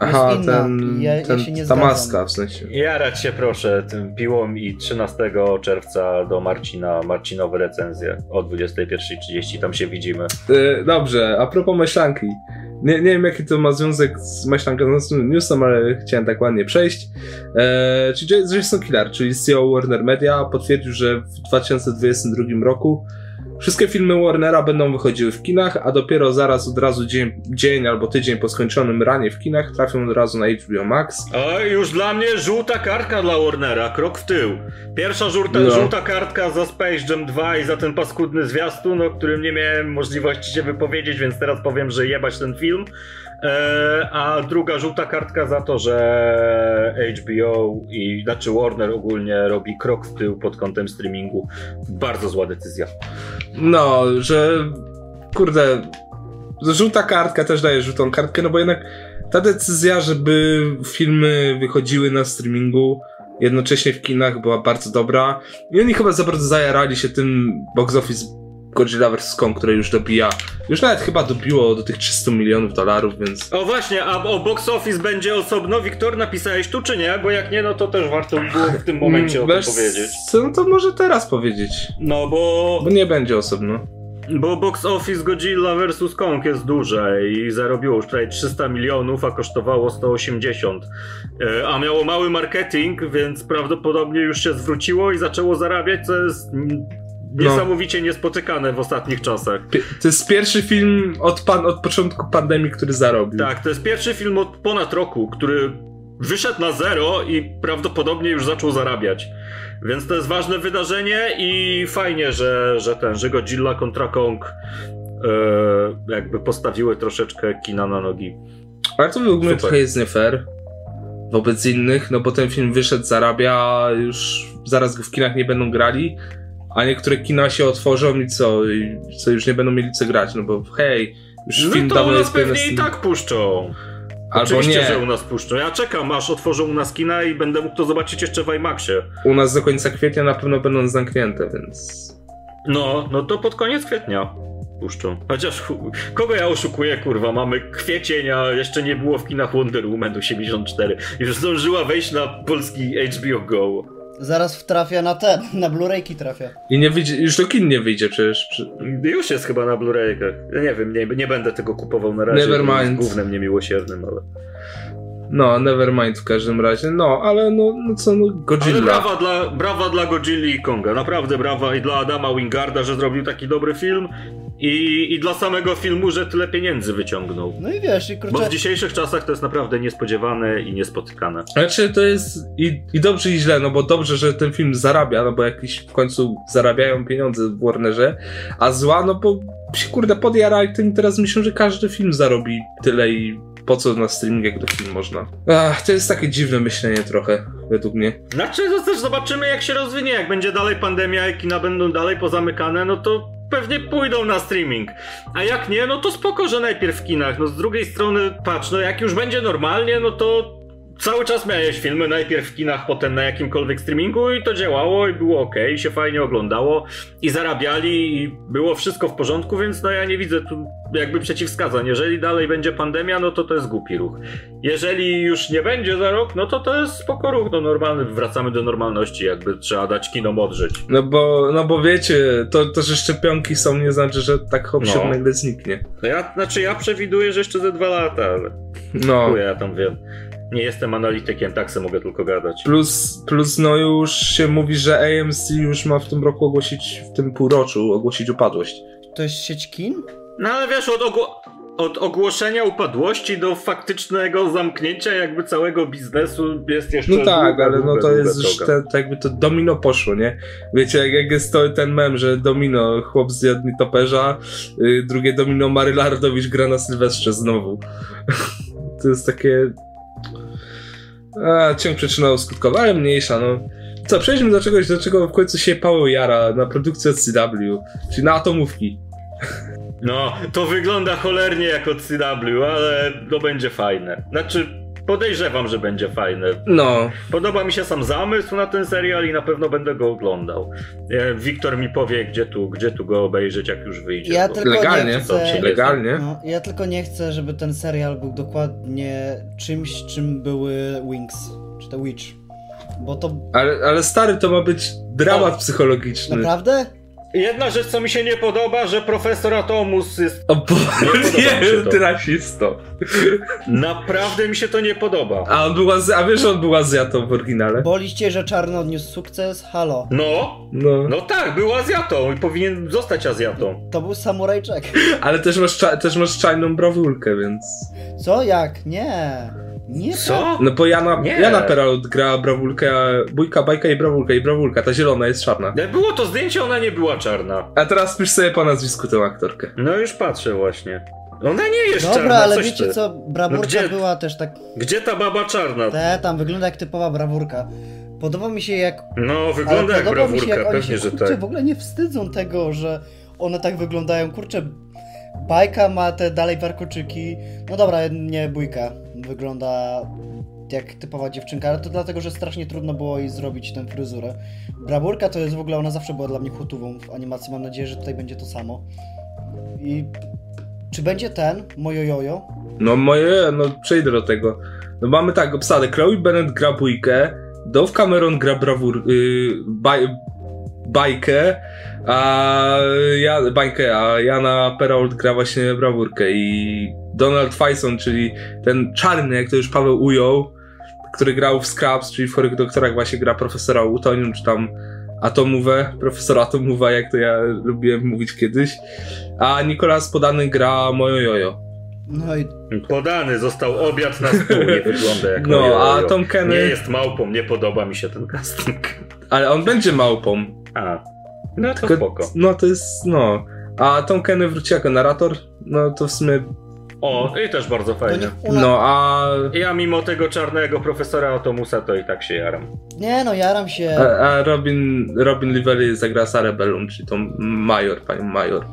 S1: Aha,
S3: inna.
S1: ten,
S3: Ja- ja
S1: ten
S3: się nie
S1: ta
S3: zgadzam.
S1: maska w sensie.
S2: Jarać się proszę tym piłą i 13 czerwca do Marcina, Marcinowe recenzje o 21.30, tam się widzimy.
S1: Y, dobrze, a propos myślanki. Nie, nie wiem, jaki to ma związek z myślanką no, z newsem, ale chciałem tak ładnie przejść. E, czyli J- Jason Killer, czyli CEO Warner Media, potwierdził, że w 2022 roku wszystkie filmy Warnera będą wychodziły w kinach, a dopiero zaraz od razu dzień, dzień albo tydzień po skończonym ranie w kinach trafią od razu na HBO Max.
S2: A już dla mnie żółta kartka dla Warnera, krok w tył. Pierwsza żółta,
S1: No.
S2: żółta kartka za Space Jam 2 i za ten paskudny zwiastun, o którym nie miałem możliwości się wypowiedzieć, więc teraz powiem, że jebać ten film. E, a druga żółta kartka za to, że HBO i znaczy Warner ogólnie robi krok w tył pod kątem streamingu. Bardzo zła decyzja.
S1: No, że kurde, żółta kartka też daje żółtą kartkę, no bo jednak ta decyzja, żeby filmy wychodziły na streamingu jednocześnie w kinach była bardzo dobra i oni chyba za bardzo zajarali się tym box office Godzilla vs. Kong, które już dobija, już nawet chyba dobiło do tych 300 milionów dolarów, więc
S2: O właśnie, a o box office będzie osobno. Wiktor, napisałeś tu czy nie? Bo jak nie, no to też warto było w tym momencie o
S1: Mm,
S2: tym
S1: wiesz
S2: powiedzieć.
S1: Co, no to może teraz powiedzieć,
S2: No bo...
S1: bo nie będzie osobno.
S2: Bo box office Godzilla vs. Kong jest duże i zarobiło już prawie 300 milionów, a kosztowało 180. E, A miało mały marketing, więc prawdopodobnie już się zwróciło i zaczęło zarabiać, co jest mm, niesamowicie niespotykane w ostatnich czasach.
S1: Pi- To jest pierwszy film od, pan, od początku pandemii, który zarobił.
S2: Tak, to jest pierwszy film od ponad roku, który wyszedł na zero i prawdopodobnie już zaczął zarabiać. Więc to jest ważne wydarzenie i fajnie, że, że ten, że Godzilla kontra Kong e, jakby postawiły troszeczkę kina na nogi.
S1: Ale to według mnie
S2: Super.
S1: trochę jest nie fair wobec innych, no bo ten film wyszedł, zarabia, już zaraz go w kinach nie będą grali, a niektóre kina się otworzą i co, i co już nie będą mieli co grać, no bo hej, już
S2: No
S1: film
S2: to u
S1: dawno
S2: nas
S1: jest
S2: pewnie
S1: pewien-
S2: i tak puszczą.
S1: albo
S2: Oczywiście,
S1: nie,
S2: że u nas puszczą. Ja czekam, aż otworzą u nas kina i będę mógł to zobaczyć jeszcze w IMAXie.
S1: u nas do końca kwietnia na pewno będą zamknięte, więc...
S2: No, no to pod koniec kwietnia puszczą. Chociaż chu- kogo ja oszukuję, kurwa, mamy kwiecień, a jeszcze nie było w kinach Wonder Woman 84. Już zdążyła wejść na polski HBO Go.
S3: Zaraz wtrafia na ten, na Blu-rayki trafia.
S1: I nie wyjdzie, już do kin nie wyjdzie przecież. Przy-
S2: Już jest chyba na Blu-rayach. Nie wiem, nie, nie będę tego kupował na razie.
S1: Never
S2: bo jest
S1: mind.
S2: Gównem niemiłosiernym, ale...
S1: No, never mind w każdym razie, no, ale no, no co, no,
S2: Ale
S1: Godzilla.
S2: brawa dla, brawa dla Godzilli i Konga, naprawdę brawa i dla Adama Wingarda, że zrobił taki dobry film i, i dla samego filmu, że tyle pieniędzy wyciągnął.
S3: No i wiesz, i
S2: Bo
S3: kurczę,
S2: w dzisiejszych czasach to jest naprawdę niespodziewane i niespotykane.
S1: Znaczy to jest i, i dobrze i źle, no bo dobrze, że ten film zarabia, no bo jakiś w końcu zarabiają pieniądze w Warnerze, a zła, no bo się kurde podjarali tym i teraz myślą, że każdy film zarobi tyle i po co na streaming, jak do film można. Ach, to jest takie dziwne myślenie trochę, według mnie.
S2: Znaczy, to też zobaczymy, jak się rozwinie. Jak będzie dalej pandemia, jak kina będą dalej pozamykane, no to pewnie pójdą na streaming. A jak nie, no to spoko, że najpierw w kinach. No z drugiej strony, patrz, no jak już będzie normalnie, no to cały czas miałeś filmy najpierw w kinach, potem na jakimkolwiek streamingu i to działało i było ok, i się fajnie oglądało i zarabiali i było wszystko w porządku, więc no ja nie widzę tu jakby przeciwwskazań. Jeżeli dalej będzie pandemia, no to to jest głupi ruch. Jeżeli już nie będzie za rok, no to to jest spoko ruch, no normalny, wracamy do normalności, jakby trzeba dać kinom odżyć.
S1: No bo, no bo wiecie, to, to że szczepionki są, nie znaczy, że tak hop
S2: No.
S1: no. nagle zniknie.
S2: No ja, znaczy ja przewiduję, że jeszcze ze dwa lata, ale
S1: No.
S2: chuj, ja tam wiem. Nie jestem analitykiem, tak se mogę tylko gadać.
S1: Plus, plus no już się mówi, że AMC już ma w tym roku ogłosić, w tym półroczu ogłosić upadłość.
S3: to jest sieć kin?
S2: No ale wiesz, od, ogło- od ogłoszenia upadłości do faktycznego zamknięcia jakby całego biznesu jest jeszcze
S1: No tak,
S2: długa,
S1: ale no
S2: długa,
S1: to
S2: długa
S1: jest już
S2: droga.
S1: te, te jakby to domino poszło, nie? Wiecie, jak, jak jest to, ten mem, że domino, chłop zjadł mi toperza, y, drugie domino Marylardowicz gra na Sylwestrze znowu. to jest takie... A, ciąg przyczynowo skutkowy, ale mniejsza, no. Co, przejdźmy do czegoś, do czego w końcu się Paweł jara, na produkcję od CW, czyli na atomówki.
S2: No, to wygląda cholernie jak od CW, ale to będzie fajne. Znaczy, podejrzewam, że będzie fajne.
S1: No,
S2: Podoba mi się sam zamysł na ten serial i na pewno będę go oglądał. E, Wiktor mi powie, gdzie tu, gdzie tu go obejrzeć, jak już wyjdzie.
S3: Ja
S2: bo-
S3: tylko-
S1: legalnie,
S3: nie chcę-
S1: legalnie.
S3: No, ja tylko nie chcę, żeby ten serial był dokładnie czymś, czym były Wings, czy The Witch. Bo to
S1: Ale, ale stary, to ma być dramat psychologiczny.
S3: naprawdę?
S2: Jedna rzecz, co mi się nie podoba, że profesor Atomus jest...
S1: O bo...
S2: podoba mi się
S1: Nie,
S2: to.
S1: ty rasisto.
S2: Naprawdę mi się to nie podoba.
S1: A on była z... A wiesz, że on była z Jatą w oryginale?
S3: Boliście, że czarno odniósł sukces? Halo.
S2: No,
S1: No.
S2: no tak, był Azjatą i powinien zostać Azjatą.
S3: To był samurajczek.
S1: Ale też masz, cza... też masz czajną brawulkę, więc...
S3: Co? Jak? Nie. Nie. tak.
S2: Co?
S1: No bo Jana,
S2: Nie.
S1: Jana Peralud gra brawulkę, a Bójka, Bajka i brawulka i brawulka, ta zielona jest czarna.
S2: Jak było to zdjęcie, ona nie była czarna.
S1: A teraz spisz sobie po nazwisku tę aktorkę.
S2: No już patrzę właśnie. Ona nie jest
S3: Dobra,
S2: czarna,
S3: ale
S2: coś
S3: wiecie
S2: ty.
S3: co? Tak. Braburka
S2: No gdzie-
S3: była też tak...
S2: Gdzie ta baba czarna?
S3: Te, tam wygląda jak typowa braburka. Podoba mi się jak...
S2: No,
S3: ale
S2: wygląda jak
S3: podoba mi się,
S2: brawurka,
S3: jak oni
S2: pewnie,
S3: się,
S2: że
S3: kurczę,
S2: tak.
S3: w ogóle nie wstydzą tego, że one tak wyglądają. Kurczę, bajka ma te dalej warkoczyki. No dobra, nie bójka. Wygląda jak typowa dziewczynka, ale to dlatego, że strasznie trudno było jej zrobić tę fryzurę. Braburka to jest w ogóle, ona zawsze była dla mnie hutową w animacji. Mam nadzieję, że tutaj będzie to samo. I czy będzie ten, Mojojojo?
S1: No moje, no przejdę do tego. No mamy tak obsadę, Chloe Bennett gra bójkę, Dove Cameron gra brawur... Yy, baj, bajkę, a ja, bajkę, a Jana Perrault gra właśnie brawurkę i Donald Faison, czyli ten czarny, jak to już Paweł ujął, który grał w Scraps, czyli w Chorych Doktorach właśnie gra profesora Utonium, czy tam Atomówę, profesora Atomówa, jak to ja lubiłem mówić kiedyś, a Nikolas Podany gra Mojo Jojo.
S3: No i
S2: Podany został obiad na stół, nie wygląda jak
S1: No,
S2: moje
S1: a
S2: jojo.
S1: Tom Kenny,
S2: Nie jest małpą, nie podoba mi się ten casting.
S1: ale on będzie małpą.
S2: A, no to
S1: Tylko-
S2: spoko.
S1: No to jest, no. A Tom Kenny wróci jako narrator, no to w sumie,
S2: O, i też bardzo
S3: to
S2: fajnie.
S3: niech u nas...
S1: no a,
S2: Ja mimo tego czarnego profesora Atomusa to i tak się jaram.
S3: Nie no, jaram się.
S1: a, a Robin, Robin Lively zagra Sarah Bellum, czyli tą major, panią major.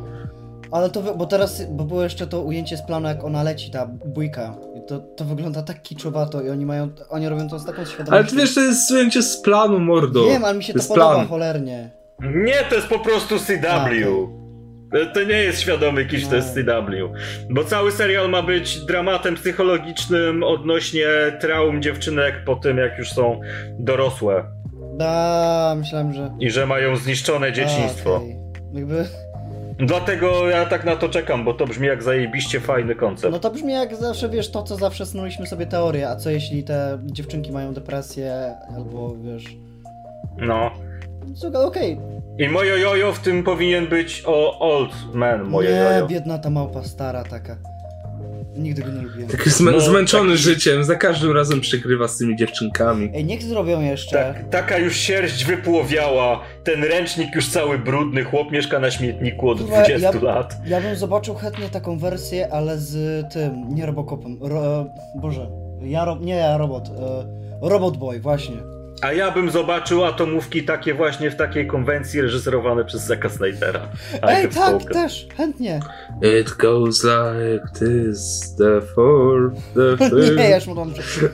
S3: Ale to, wy- bo teraz, bo było jeszcze to ujęcie z planu, jak ona leci, ta bójka. I to, to wygląda tak kiczowato i oni mają, oni robią to z taką świadomością.
S1: Ale ty wiesz, to jest zdjęcie z planu, mordo.
S3: Wiem, ale mi się
S1: To
S3: to
S1: jest
S3: podoba
S1: plan.
S3: cholernie.
S2: Nie, to jest po prostu
S3: A,
S2: CW. To- To nie jest świadomy kiś, to
S3: No.
S2: jest CW. Bo cały serial ma być dramatem psychologicznym odnośnie traum dziewczynek po tym, jak już są dorosłe
S3: Da, myślałem, że...
S2: i że mają zniszczone dzieciństwo.
S3: A, okej. Jakby,
S2: Dlatego ja tak na to czekam, bo to brzmi jak zajebiście fajny koncept.
S3: no to brzmi jak zawsze, wiesz, to co zawsze snuliśmy sobie teorię, a co jeśli te dziewczynki mają depresję, albo wiesz...
S2: No.
S3: Słuchaj, okej,
S2: I moje jojo w tym powinien być o old man moje
S3: nie,
S2: jojo.
S3: biedna ta małpa, stara taka. Nigdy go nie lubiłem.
S1: Taki zmę-
S2: No,
S1: zmęczony
S2: taki-
S1: życiem, za każdym razem przegrywa z tymi dziewczynkami.
S3: Ej, niech zrobią jeszcze...
S2: Tak, taka już sierść wypłowiała, ten ręcznik już cały brudny, chłop mieszka na śmietniku od
S3: Kurwa,
S2: 20
S3: ja-
S2: lat.
S3: Ja bym zobaczył chętnie taką wersję, ale z tym, nie Robocopem. Ro, Boże, ja ro, nie ja robot. E, robot Boy, właśnie.
S2: A ja bym zobaczył atomówki takie właśnie w takiej konwencji reżyserowane przez Zacka Snydera.
S3: Ej,
S2: I've
S3: tak,
S2: spoken.
S3: też, chętnie.
S1: It goes like this, the for the
S3: nie, ja
S1: thing.
S3: już mam przed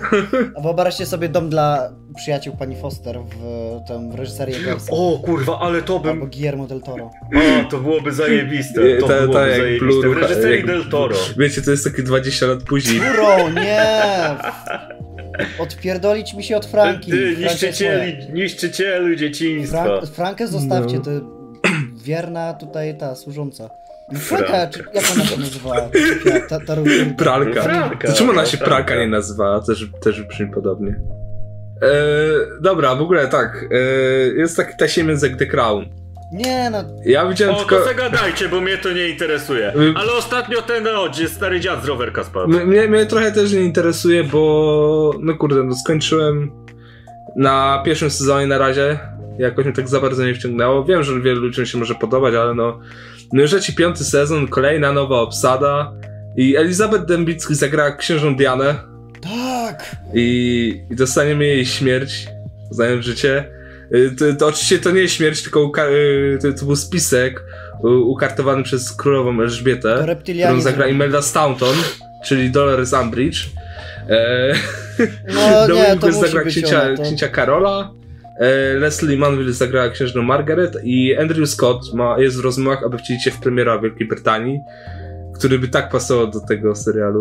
S3: A wyobraźcie sobie dom dla przyjaciół pani Foster w e, tym w reżyserii Eggersa.
S2: O kurwa, ale to
S3: Albo
S2: bym...
S3: Guillermo del Toro.
S2: O, to byłoby zajebiste.
S1: Nie,
S2: Tak. To
S1: ta- ta
S2: byłoby
S1: jak
S2: zajebiste.
S1: Blue
S2: w reżyserii
S1: Rucha-
S2: Del
S1: jak-
S2: Toro.
S1: Wiecie, to jest takie 20 lat później.
S3: Uro, nie! Odpierdolić mi się od Franki.
S2: Ty,
S3: Franki jest moja.
S2: niszczycieli, niszczycielu dzieciństwa.
S3: Frank, Frankę zostawcie,
S1: No.
S3: ty wierna tutaj ta służąca.
S2: Frank.
S3: Franka, czy jak ona się nazywała? Ta, ta, ta,
S1: Pralka.
S2: Pralka,
S1: to czemu ona
S2: no,
S1: się
S2: pralka.
S1: pralka nie nazywała? Też, też brzmi podobnie. E, dobra, w ogóle tak. E, jest taki tasiemiec jak The Crown.
S3: Nie no,
S1: Ja widziałem
S2: O,
S1: tylko... Y-
S2: to zagadajcie, bo mnie to nie interesuje.
S1: Ym.
S2: Ale ostatnio ten o, gdzie stary dziad z rowerka spadł.
S1: M- Mnie, mnie trochę też nie interesuje, bo no kurde, no skończyłem na pierwszym sezonie na razie. Jakoś mnie tak za bardzo nie wciągnęło. Wiem, że wielu ludziom się może podobać, ale no. No już leci piąty sezon, kolejna nowa obsada. I Elizabeth Dębicki zagra księżą Dianę.
S3: tak!
S1: i, i dostaniemy jej śmierć, znając życie. Y, To, to oczywiście to nie śmierć, tylko uka- y, to, to był spisek y, ukartowany przez królową
S3: To
S1: Elżbietę, którą
S3: reptilianie.
S1: zagra Imelda Staunton, czyli Dolores Umbridge. E,
S3: No
S1: Dominic
S3: nie, to
S1: West
S3: musi
S1: zagra
S3: być
S1: księcia,
S3: ona, to...
S1: księcia Karola. E, Leslie Manville zagrała księżną Margaret i Andrew Scott ma, jest w rozmowach, aby wcielić się w premiera Wielkiej Brytanii, który by tak pasował do tego serialu.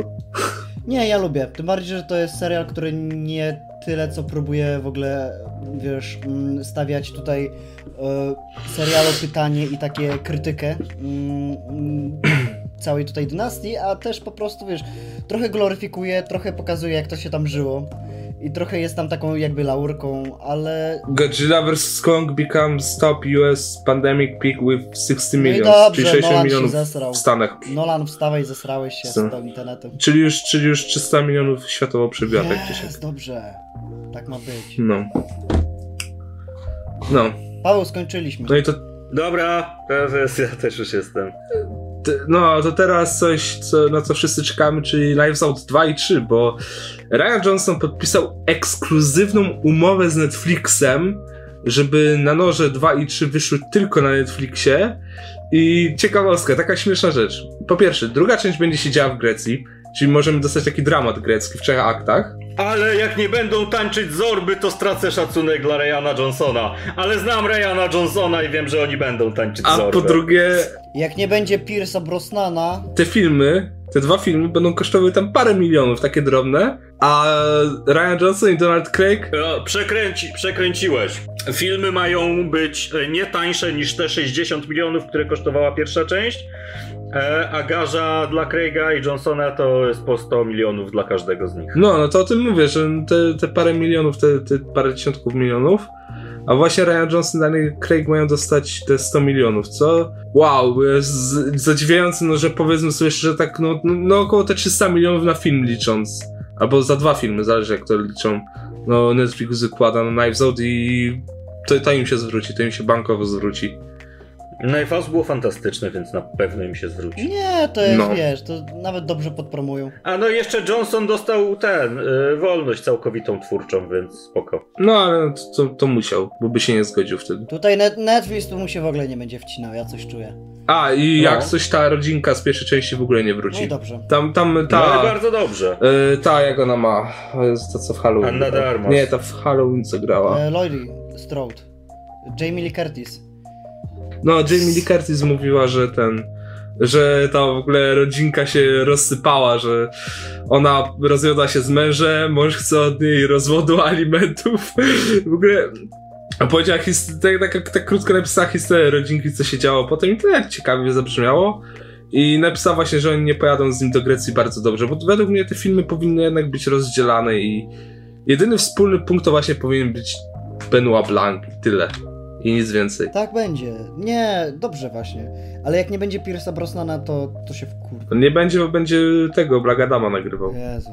S3: Nie, ja lubię. Tym bardziej, że to jest serial, który nie tyle co próbuje w ogóle, wiesz, mm, stawiać tutaj y, serialo pytanie i takie krytykę mm, mm, całej tutaj dynastii, a też po prostu, wiesz, trochę gloryfikuje, trochę pokazuje, jak to się tam żyło. I trochę jest tam taką jakby laurką, ale
S1: Godzilla vs. Kong becomes top US pandemic peak with 60
S3: No i
S1: millions,
S3: dobrze,
S1: czyli 60
S3: Nolan się
S1: milionów
S3: zesrał. No.
S1: w Stanach.
S3: Nolan, wstawaj, zesrałeś się
S1: Co?
S3: z tym internetem.
S1: Czyli już, czyli już 300 milionów światowo przebiatek gdzieś.
S3: Jest, dobrze. Tak ma być.
S1: No. No.
S3: Paweł, skończyliśmy.
S1: No i to
S2: Dobra, teraz jest, ja też już jestem.
S1: Te- No, to teraz coś, co, na co wszyscy czekamy, czyli Lives Out 2 i 3, bo Ryan Johnson podpisał ekskluzywną umowę z Netflixem, żeby na noże 2 i 3 wyszły tylko na Netflixie. I ciekawostka, taka śmieszna rzecz. Po pierwsze, druga część będzie się działa w Grecji, czyli możemy dostać taki dramat grecki w trzech aktach.
S2: Ale jak nie będą tańczyć zorby, to stracę szacunek dla Rayana Johnsona. Ale znam Rayana Johnsona i wiem, że oni będą tańczyć
S1: A
S2: zorby.
S1: po drugie,
S3: Jak nie będzie Pierce'a Brosnana,
S1: te filmy, te dwa filmy będą kosztowały tam parę milionów, takie drobne, a Ryan Johnson i Donald Craig
S2: E, Przekręci, przekręciłeś. Filmy mają być e, nie tańsze niż te 60 milionów, które kosztowała pierwsza część, e, a garza dla Craiga i Johnsona to jest po 100 milionów dla każdego z nich.
S1: No, no to o tym mówię, że te, te parę milionów, te, te parę dziesiątków milionów, a właśnie Ryan Johnson i Daniel Craig mają dostać te 100 milionów, co? Wow, jest z- zadziwiające, no że powiedzmy sobie szczerze, tak no, no około te 300 milionów na film licząc, albo za dwa filmy, zależy jak to liczą. No Netflix wykłada na Knives Out i to, to im się zwróci, to im się bankowo zwróci.
S2: No i Faust było fantastyczne, więc na pewno im się zwróci.
S3: Nie, to jest,
S1: No.
S3: wiesz, to nawet dobrze podpromują.
S2: A no jeszcze Johnson dostał ten, y, wolność całkowitą twórczą, więc spoko.
S1: No ale to, to, to musiał, bo by się nie zgodził wtedy.
S3: Tutaj net, Netflix tu mu się w ogóle nie będzie wcinał, ja coś czuję.
S1: A i
S2: No.
S1: jak coś ta rodzinka z pierwszej części w ogóle nie
S3: No i
S1: wróci.
S3: dobrze.
S1: Tam, tam,
S2: No ale
S1: ta...
S2: bardzo dobrze.
S1: Yy, ta, jak ona ma? O Jezu, To co w Halloween?
S2: Anna de Armas.
S1: Nie, ta w Halloween co grała.
S3: E, Lloyd Strode. Jamie Lee Curtis.
S1: No, Jamie Lee Curtis mówiła, że ten... Że ta w ogóle rodzinka się rozsypała, że ona rozwiodła się z mężem, mąż chce od niej rozwodu, alimentów. W ogóle a powiedziała his- tak, tak, tak krótko napisała historię rodzinki, co się działo potem i to tak ciekawie zabrzmiało. I napisała właśnie, że oni nie pojadą z nim do Grecji bardzo dobrze, bo według mnie te filmy powinny jednak być rozdzielane i jedyny wspólny punkt to właśnie powinien być Benoit Blanc i tyle. I nic więcej.
S3: Tak będzie. Nie, dobrze właśnie. Ale jak nie będzie Pierce'a Brosnana, to, to się wkur...
S1: Nie będzie, bo będzie tego Blagadama nagrywał.
S3: Jezu.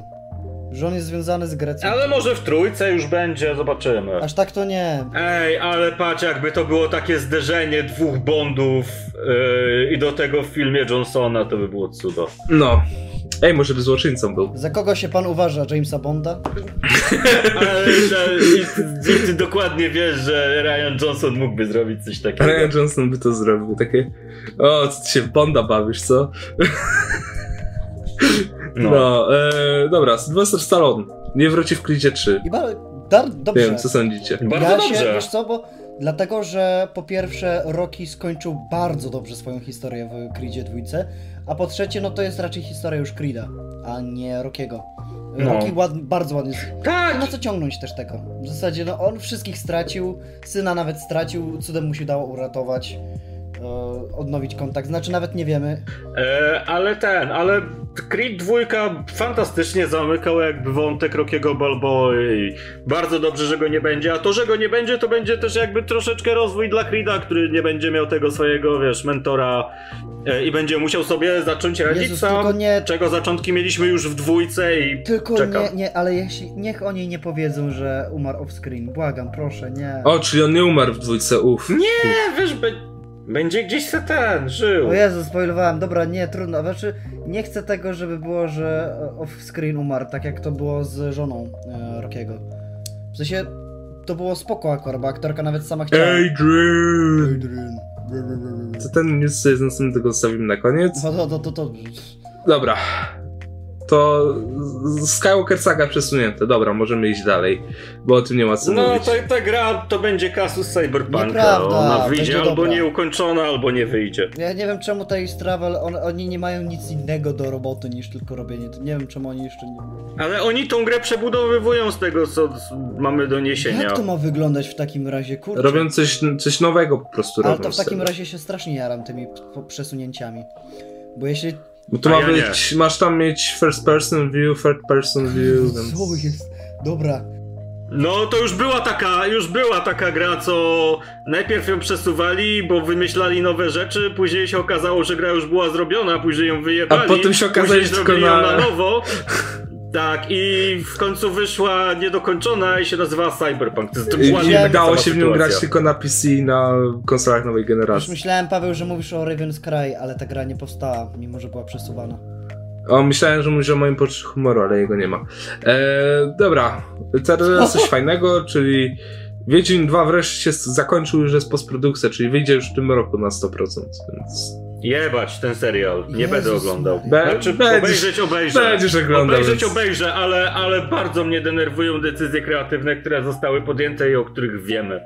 S3: Że on jest związany z Grecją.
S2: Ale może w trójce już będzie, zobaczymy.
S3: Aż tak to nie.
S2: Ej, ale patrz, jakby to było takie zderzenie dwóch Bondów yy, i do tego w filmie Johnsona, to by było cudo.
S1: No. Ej, może by złoczyńcą był.
S3: Za kogo się pan uważa? Jamesa Bonda?
S2: Ale że, i, i ty dokładnie wiesz, że Ryan Johnson mógłby zrobić coś takiego.
S1: Ryan Johnson by to zrobił, takie o, co ty się w Bonda bawisz, co? No,
S2: No.
S1: e, dobra, Sylvester Stallone nie wróci w Creedzie 3.
S3: I ba... Dar... Dobrze.
S1: Wiem, co sądzicie.
S2: Bardzo
S3: ja się,
S2: dobrze.
S3: wiesz co, bo dlatego, że po pierwsze Rocky skończył bardzo dobrze swoją historię w Creedzie dwójce, a po trzecie, no to jest raczej historia już Creeda, a nie Rockiego.
S2: No.
S3: Rocky ład, bardzo ładnie... z- Nie
S2: Tak!
S3: ma co ciągnąć też tego. W zasadzie, no on wszystkich stracił, syna nawet stracił, cudem mu się dało uratować, e, odnowić kontakt, znaczy nawet nie wiemy.
S2: E, ale ten, ale Creed 2 fantastycznie zamykał jakby wątek Rockiego Balboa i bardzo dobrze, że go nie będzie, a to, że go nie będzie, to będzie też jakby troszeczkę rozwój dla Creeda, który nie będzie miał tego swojego, wiesz, mentora e, i będzie musiał sobie zacząć radzić
S3: Jezus,
S2: sam,
S3: tylko nie,
S2: czego zaczątki mieliśmy już w dwójce i...
S3: tylko
S2: Czekam.
S3: nie, nie, ale jeśli, niech oni nie powiedzą, że umarł off-screen, błagam, proszę, nie.
S1: O, czyli on nie umarł w dwójce, uff.
S2: Nie, wiesz, be... będzie gdzieś se ten, żył.
S3: O Jezu, spoilowałem, dobra, nie, trudno, znaczy nie chcę tego, żeby było, że off-screen umarł, tak jak to było z żoną e, Rockiego. W sensie, to było spoko akurat, bo aktorka nawet sama chciała.
S1: Adrian!
S3: Adrian.
S1: To ten news sobie z następnego zostawimy na koniec.
S3: No to, to, to, to.
S1: Dobra. To z- Skywalker Saga przesunięte. Dobra, możemy iść dalej, bo o tym nie ma co
S2: No,
S1: mówić.
S2: ta, ta gra to będzie kasus Cyberpunka. no.
S3: Nieprawda,
S2: Ona wyjdzie
S3: będzie
S2: albo
S3: dobra.
S2: nieukończona, albo nie wyjdzie.
S3: Ja nie wiem czemu tej Stravel, on, oni nie mają nic innego do roboty niż tylko robienie. to- Nie wiem czemu oni jeszcze nie.
S2: Ale oni tą grę przebudowywują z tego, co z- mamy doniesienia.
S3: Jak to ma wyglądać w takim razie, kurczę?
S1: Robią coś, coś nowego po prostu
S3: Ale
S1: robią
S3: to w
S1: z
S3: takim
S1: tego.
S3: razie się strasznie jaram tymi p- p- przesunięciami. Bo jeśli.
S1: Bo tu
S2: A
S1: ma
S2: ja
S1: być, masz tam mieć first person view, third person view, więc...
S3: Słowo jest. Dobra.
S2: No to już była taka, już była taka gra, co najpierw ją przesuwali, bo wymyślali nowe rzeczy, później się okazało, że gra już była zrobiona, później ją wyjebali.
S1: A potem się okazało,
S2: później
S1: że tylko
S2: zrobili ją
S1: na-
S2: na nowo. Tak, i w końcu wyszła niedokończona i się nazywała Cyberpunk. To, to
S1: I,
S2: była nie
S1: i
S2: taka
S1: dało
S2: sama
S1: się w nią
S2: sytuacja.
S1: grać tylko na PC i na konsolach nowej
S3: Już
S1: generacji.
S3: myślałem, Paweł, że mówisz o Raven's Cry, ale ta gra nie powstała, mimo że była przesuwana.
S1: O, myślałem, że mówisz o moim poczuciu humoru, ale jego nie ma. Eee, dobra, teraz coś fajnego, czyli Wiedźmin 2 wreszcie się zakończył, już jest postprodukcja, czyli wyjdzie już w tym roku na 100%, więc
S2: Jebać ten serial, nie
S3: Jezus
S2: będę oglądał.
S1: Maria.
S2: Znaczy,
S1: Będziesz-
S2: obejrzeć obejrzę.
S1: będziesz oglądał,
S2: Obejrzeć
S1: więc-
S2: obejrzę, ale, ale bardzo mnie denerwują decyzje kreatywne, które zostały podjęte i o których wiemy.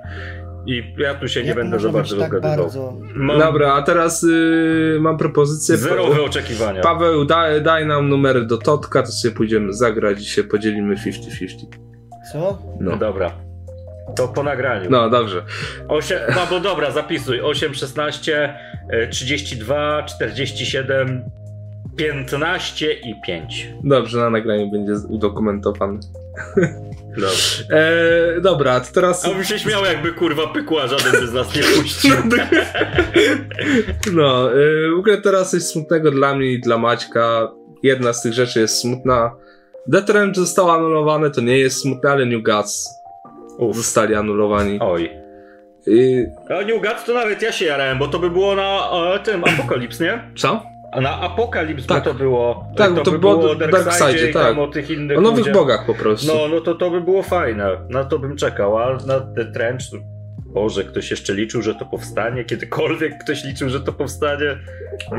S2: I ja tu się nie
S3: Jak
S2: będę
S3: można
S2: za
S3: mieć
S2: bardzo
S3: tak
S2: dogadywał.
S3: bardzo.
S2: Mam
S1: Dobra, a teraz y, mam propozycję.
S2: zerowe oczekiwania.
S1: Paweł, daj, daj nam numery do Totka, to sobie pójdziemy zagrać i się podzielimy 50-50.
S3: Co?
S1: No.
S2: Dobra. To po nagraniu.
S1: no, dobrze.
S2: Osiem, no bo dobra, zapisuj. 8, 16, e, 32, 47, 15 i 5.
S1: Dobrze, na nagraniu będzie z- udokumentowany.
S2: Dobrze.
S1: E, dobra, to teraz...
S2: A bym się śmiał, jakby kurwa pykła żaden z nas nie puścił.
S1: No, y, w ogóle teraz coś smutnego dla mnie i dla Maćka. Jedna z tych rzeczy jest smutna. Death Ranch zostało anulowane, to nie jest smutne, ale New Gods
S2: Uf.
S1: zostali anulowani.
S2: Oj.
S1: Y,
S2: A New Gods to nawet ja się jarałem, bo to by było na e, tym Apokalips, nie?
S1: co?
S2: A na Apokalips
S1: Tak.
S2: by to było.
S1: Tak,
S2: E,
S1: bo to
S2: by
S1: było
S2: o
S1: Dark Side'zie,
S2: i
S1: tak.
S2: tam o tych innych
S1: O nowych
S2: ludziach.
S1: bogach po prostu.
S2: No, no to to by było fajne. Na to bym czekał, a na The Trench... to- Boże, ktoś jeszcze liczył, że to powstanie? Kiedykolwiek ktoś liczył, że to powstanie?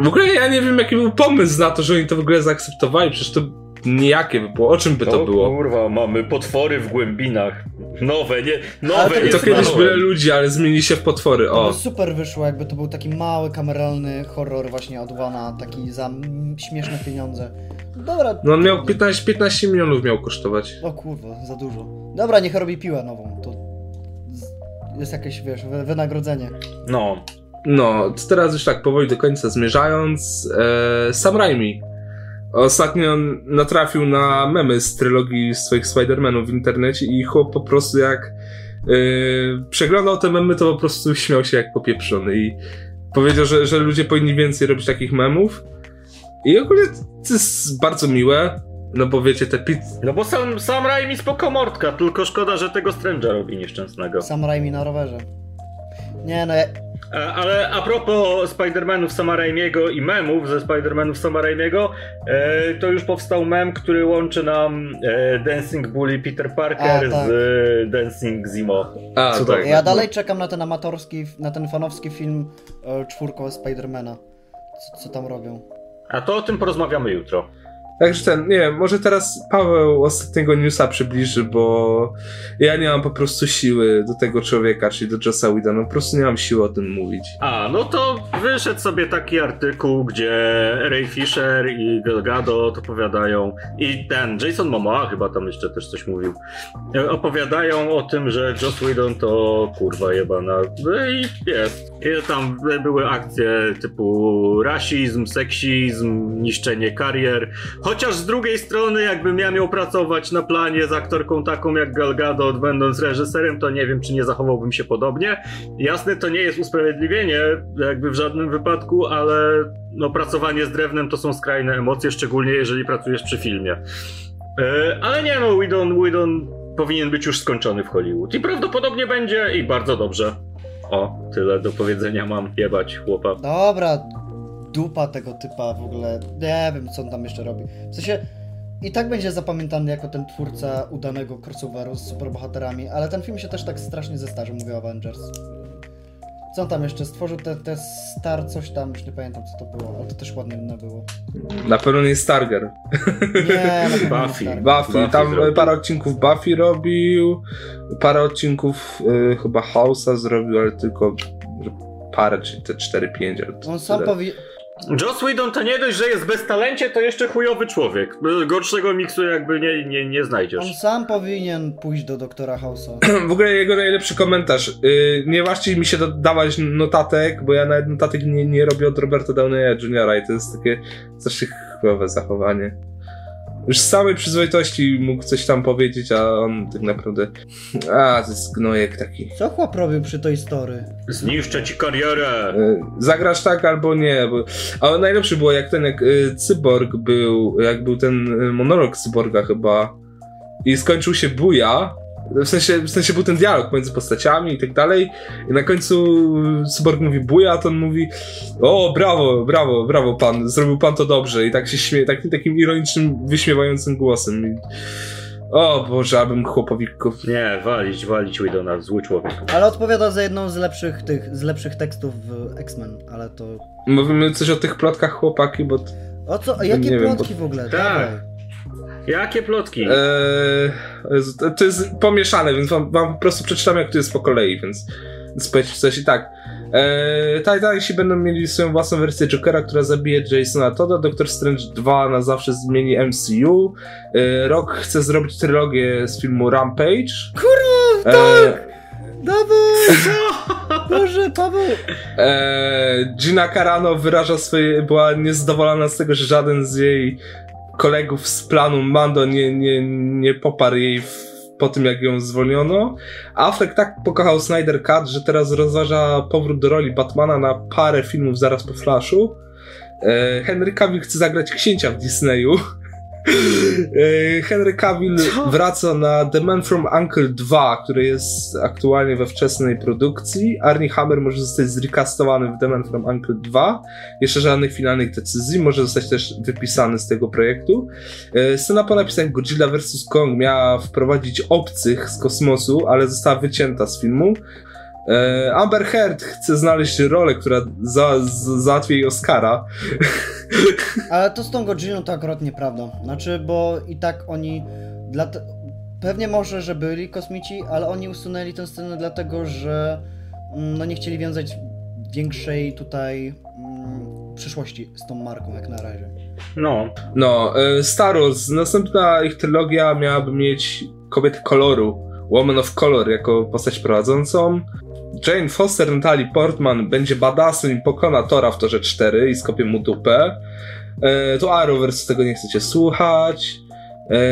S1: W ogóle ja nie wiem, jaki był pomysł na to, że oni to w ogóle zaakceptowali. Przecież to nijakie by było. O czym by to
S2: No,
S1: było?
S2: kurwa, mamy potwory w głębinach. Nowe, nie?
S3: Ale
S2: Nowe,
S3: to-
S2: nie
S1: To kiedyś
S2: znałem.
S1: byli ludzie, ale zmienili się w potwory.
S3: To by
S1: O.
S3: super wyszło, jakby to był taki mały, kameralny horror właśnie od Wana, taki za mm, śmieszne pieniądze. Dobra.
S1: No on miał 15, 15 milionów miał kosztować.
S3: O kurwa, za dużo. Dobra, niech robi piłę nową, to z- jest jakieś, wiesz, wy- wynagrodzenie.
S2: No.
S1: No, to teraz już tak powoli do końca zmierzając, e, Sam Raimi. Ostatnio on natrafił na memy z trylogii swoich Spider-Manów w internecie i chłop po prostu jak e, przeglądał te memy, to po prostu śmiał się jak popieprzony i powiedział, że, że ludzie powinni więcej robić takich memów. I ogólnie to jest bardzo miłe, no bo wiecie, te pit...
S2: No bo sam, sam Raimi spoko mordka, tylko szkoda, że tego Strange'a robi nieszczęsnego.
S3: Sam Raimi na rowerze. Nie no, ja,
S2: E, Ale a propos Spidermanów Sama Raimiego i memów ze Spidermanów Sama Raimiego, e, to już powstał mem, który łączy nam e, Dancing Bully Peter Parker
S3: A, tak.
S2: z e, Dancing Zimo.
S1: A,
S2: Cudowne.
S1: tak,
S3: ja
S1: tak,
S3: dalej czekam na ten amatorski, na ten fanowski film e, czwórko Spidermana. Co, co tam robią?
S2: A to o tym porozmawiamy jutro.
S1: Także ten, nie wiem, może teraz Paweł ostatniego newsa przybliży, bo ja nie mam po prostu siły do tego człowieka, czyli do Jossa Whedona, po prostu nie mam siły o tym mówić.
S2: A, no to wyszedł sobie taki artykuł, gdzie Ray Fisher i Gal Gadot opowiadają i ten Jason Momoa chyba tam jeszcze też coś mówił. e, Opowiadają o tym, że Joss Whedon to kurwa jebana. No i jest. I tam były akcje typu rasizm, seksizm, niszczenie karier. Chociaż z drugiej strony, jakbym ja miał pracować na planie z aktorką taką jak Gal Gadot, będąc reżyserem, to nie wiem, czy nie zachowałbym się podobnie. Jasne, to nie jest usprawiedliwienie, jakby w żadnym wypadku, ale no, pracowanie z drewnem to są skrajne emocje, szczególnie jeżeli pracujesz przy filmie. E, ale nie no, Widon, Widon powinien być już skończony w Hollywood. I prawdopodobnie będzie i bardzo dobrze. O, tyle do powiedzenia mam, jebać chłopa.
S3: Dobra, dupa tego typa w ogóle. Nie wiem, co on tam jeszcze robi. W sensie, i tak będzie zapamiętany jako ten twórca udanego crossoveru z superbohaterami, ale ten film się też tak strasznie zestarzał, mówię o Avengers. Co on tam jeszcze? Stworzył te, te star coś tam, już nie pamiętam co to było, ale to też ładnie inne było.
S1: Na pewno nie Starger.
S3: Nie, na pewno nie
S2: Buffy.
S3: Star.
S1: Buffy,
S2: Buffy
S1: tam
S2: zrobił.
S1: parę odcinków Buffy robił, parę odcinków y, chyba House'a zrobił, ale tylko parę, czyli te 4-5. ale to
S3: On sam
S1: tyle.
S3: powie...
S2: Joss Whedon to nie dość, że jest bez talencie, to jeszcze chujowy człowiek. Gorszego miksu jakby nie, nie, nie znajdziesz.
S3: On sam powinien pójść do doktora House'a.
S1: W ogóle jego najlepszy komentarz. y, nie ważcie mi się do- dawać notatek, bo ja nawet notatek nie, nie robię od Roberta Downeya Jr. i to jest takie strasznie chwilowe zachowanie. Już z samej przyzwoitości mógł coś tam powiedzieć, a on tak naprawdę... A, to jest gnojek taki.
S3: Co chłop robił przy tej story?
S2: Zniszczę ci karierę!
S1: E, Zagrasz tak albo nie. Bo... Ale najlepszy było jak ten, jak e, cyborg był, jak był ten e, monolog cyborga chyba i skończył się buja. W sensie, w sensie był ten dialog między postaciami i tak dalej. I na końcu e, cyborg mówi buja, a to on mówi o, brawo, brawo, brawo pan, zrobił pan to dobrze. I tak się śmieje, tak, takim ironicznym, wyśmiewającym głosem. I... O Boże, abym chłopowi... ko-
S2: Nie, walić, walić Whedona, zły człowiek.
S3: Ale odpowiada za jedną z lepszych tych, z lepszych tekstów w X-Men, ale to...
S1: Mówimy coś o tych plotkach chłopaki, bo
S3: O co?
S1: nie
S3: Jakie
S1: wiem,
S3: plotki w ogóle?
S2: Tak.
S3: Dawaj.
S2: Jakie plotki?
S1: Eee, Jezu, to- to jest pomieszane, więc wam, wam po prostu przeczytam, jak to jest po kolei, więc powiedzcie coś i tak. Eee, Titansi będą mieli swoją własną wersję Jokera, która zabije Jasona Todda, Doctor Strange 2 na zawsze zmieni MCU, eee, Rock chce zrobić trylogię z filmu Rampage. Kurwa, tak!
S3: Dawaj! Boże, Paweł!
S1: Eee, Gina Carano wyraża swoje, była niezadowolona z tego, że żaden z jej kolegów z planu Mando nie, nie, nie poparł jej w, po tym, jak ją zwolniono. Affleck tak pokochał Snyder Cut, że teraz rozważa powrót do roli Batmana na parę filmów zaraz po Flashu. Eee, Henry Cavill chce zagrać księcia w Disneyu. Eee, Henry Cavill
S2: Co?
S1: wraca na The Man from Uncle 2, który jest aktualnie we wczesnej produkcji. Arnie Hammer może zostać zrecastowany w The Man from Uncle 2. Jeszcze żadnych finalnych decyzji. Może zostać też wypisany z tego projektu. Eee, Scena po napisaniu Godzilla vs. Kong miała wprowadzić obcych z kosmosu, ale została wycięta z filmu. Eee, Amber Heard chce znaleźć rolę, która za, za, załatwi jej Oscara.
S3: Ale to z tą Godzillą to akurat nieprawda. Znaczy, bo i tak oni. Dla te... Pewnie może, że byli kosmici, ale oni usunęli tę scenę dlatego, że mm, no nie chcieli wiązać większej tutaj mm, przyszłości z tą marką jak na razie.
S2: No.
S1: No, e, Star Wars, następna ich trylogia miałaby mieć kobietę koloru, Woman of Color jako postać prowadzącą. Jane Foster, Natalie Portman będzie badassem i pokona Tora w torze 4 i skopie mu dupę. E, tu Arrowverse tego nie chcecie słuchać.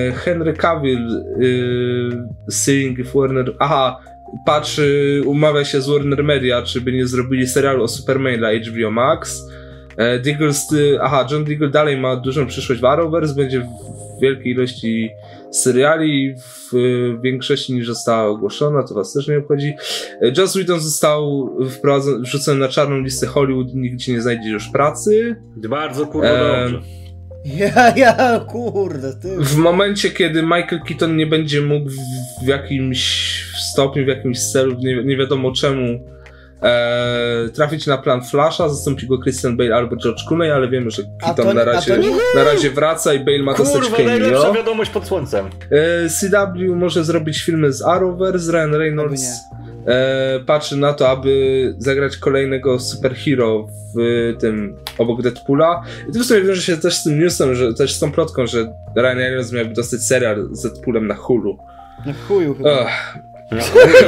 S1: E, Henry Cavill, y, Seeing if Warner... Aha, patrzy, umawia się z Warner Media, czy by nie zrobili serialu o Superman dla HBO Max. E, Diggles, y, aha, John Diggle dalej ma dużą przyszłość w Arrowverse, będzie w wielkiej ilości seriali, i w y, większości niż została ogłoszona, to was też nie obchodzi. E, Joss Whedon został wprowadzony, wrzucony na czarną listę Hollywood, nigdzie nie znajdzie już pracy.
S2: Bardzo kurwa
S1: Em,
S2: dobrze.
S3: Ja, ja, kurde, ty.
S1: W momencie, kiedy Michael Keaton nie będzie mógł w- w jakimś stopniu, w jakimś celu, nie, nie wiadomo czemu, e, trafić na plan Flasha, zastąpi go Christian Bale albo George Clooney, ale wiemy, że
S3: A
S1: Keaton
S3: to-
S1: na,
S3: a to
S1: razie,
S3: nie-
S1: na razie wraca i Bale ma dostać
S2: Kurwa, najlepsza
S1: cameo.
S2: wiadomość pod słońcem.
S1: E, CW może zrobić filmy z Arrowverse, Ryan Reynolds e, patrzy na to, aby zagrać kolejnego superhero w e, tym obok Deadpoola. I to w sumie wiąże się też z tym newsem, że też z tą plotką, że Ryan Reynolds miałby dostać serial z Deadpoolem na Hulu.
S3: Na chuju chyba.
S1: Ugh.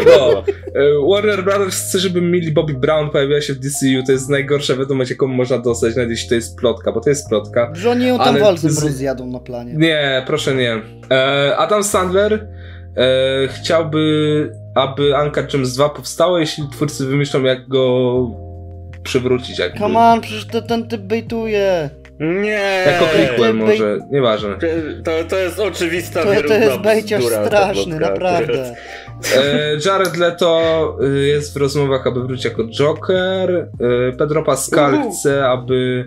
S1: No. E, Warner Brothers chce, żeby Millie Bobby Brown pojawiła się w DCU. To jest najgorsza wiadomość, jaką można dostać, nawet jeśli to jest plotka, bo to jest plotka.
S3: Że oni ją tam
S1: ale
S3: walcem
S1: z-
S3: rozjadą na planie.
S1: Nie, proszę nie. E, Adam Sandler e, chciałby, aby Anka James 2 powstała, jeśli twórcy wymyślą, jak go przywrócić. Jakby.
S3: Come on, przecież to, ten typ bejtuje.
S2: Nie.
S1: Jako prequel
S3: Ty-
S1: może, nieważne.
S2: To, to jest oczywista
S3: To, to
S2: wierutna
S3: jest bejciarz
S2: bzdura, ta
S3: straszny,
S2: plotka.
S3: naprawdę.
S1: E, Jared Leto e, jest w rozmowach, aby wrócić jako Joker. E, Pedro Pascal
S2: Uhu.
S1: chce, aby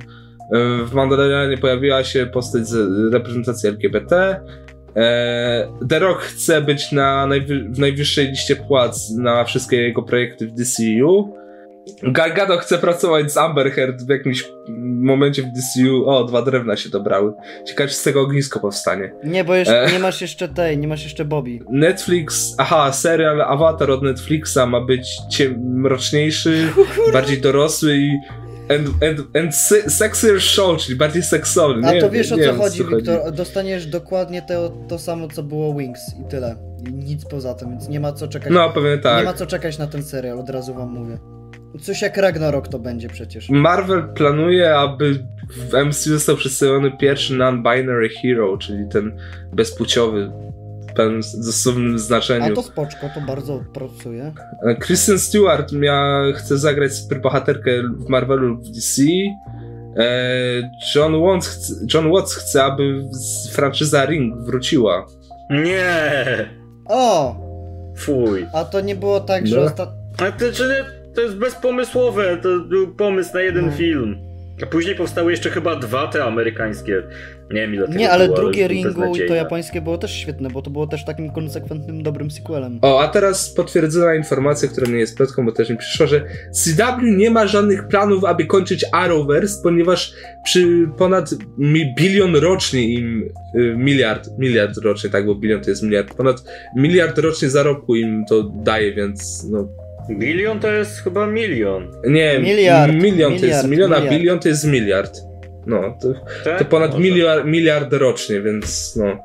S1: E, W Mandalorianie pojawiła się postać z reprezentacji LGBT. E, The Rock chce być na najwy- w najwyższej liście płac na wszystkie jego projekty w DCU. Gargado chce pracować z Amber Heard w jakimś momencie w DCU. O, dwa drewna się dobrały. Ciekawe, czy z tego ognisko powstanie.
S3: Nie, bo jeszcze,
S1: Ech.
S3: nie masz jeszcze tej, nie masz jeszcze Bobby.
S1: Netflix, aha, serial Avatar od Netflixa ma być ciem, mroczniejszy, bardziej dorosły i and, and, and se- sexier show, czyli bardziej seksowny.
S3: A
S1: Nie
S3: to
S1: wiem,
S3: wiesz o
S1: nie
S3: co
S1: wiem,
S3: chodzi, Wiktor. Dostaniesz dokładnie to, to samo, co było Wings i tyle. I nic poza tym, więc nie ma co czekać.
S1: No, pewnie
S3: Nie
S1: tak.
S3: ma co czekać na ten serial, od razu wam mówię. Coś jak Ragnarok to będzie przecież.
S1: Marvel planuje, aby w MCU został przedstawiony pierwszy non-binary hero, czyli ten bezpłciowy w pewnym dosłownym
S3: A
S1: znaczeniu.
S3: to spoczko, to bardzo pracuje.
S1: E, Kristen Stewart mia, chce zagrać superbohaterkę w Marvelu lub w DC. E, John, Watts chce, John Watts chce, aby z- franczyza Ring wróciła.
S2: Nie!
S3: O!
S2: Fuj.
S3: A to nie było tak, że
S1: No.
S3: ostat...
S2: A to, czy to jest bezpomysłowe, to był pomysł na jeden
S3: No.
S2: film. A później powstały jeszcze chyba dwa te amerykańskie. Nie wiem ile tego
S3: Nie, ale
S2: było,
S3: drugie
S2: ale
S3: Ringu i to
S1: no.
S2: beznadziejne.
S3: japońskie było też świetne, bo to było też takim konsekwentnym, dobrym sequelem.
S1: O, a teraz potwierdzona informacja, która nie jest plotką, bo też mi przyszła, że CW nie ma żadnych planów, aby kończyć Arrowverse, ponieważ przy ponad mi- bilion rocznie im, y, miliard, miliard rocznie, tak, bo bilion to jest miliard, ponad miliard rocznie zarobku im to daje, więc no,
S2: Bilion to jest chyba milion.
S1: Nie,
S3: Miliard,
S1: milion to
S3: miliard,
S1: jest milion, a
S3: miliard.
S1: bilion to jest miliard. No, to,
S2: Tak?
S1: to ponad
S2: Może.
S1: miliard, miliard rocznie, więc no.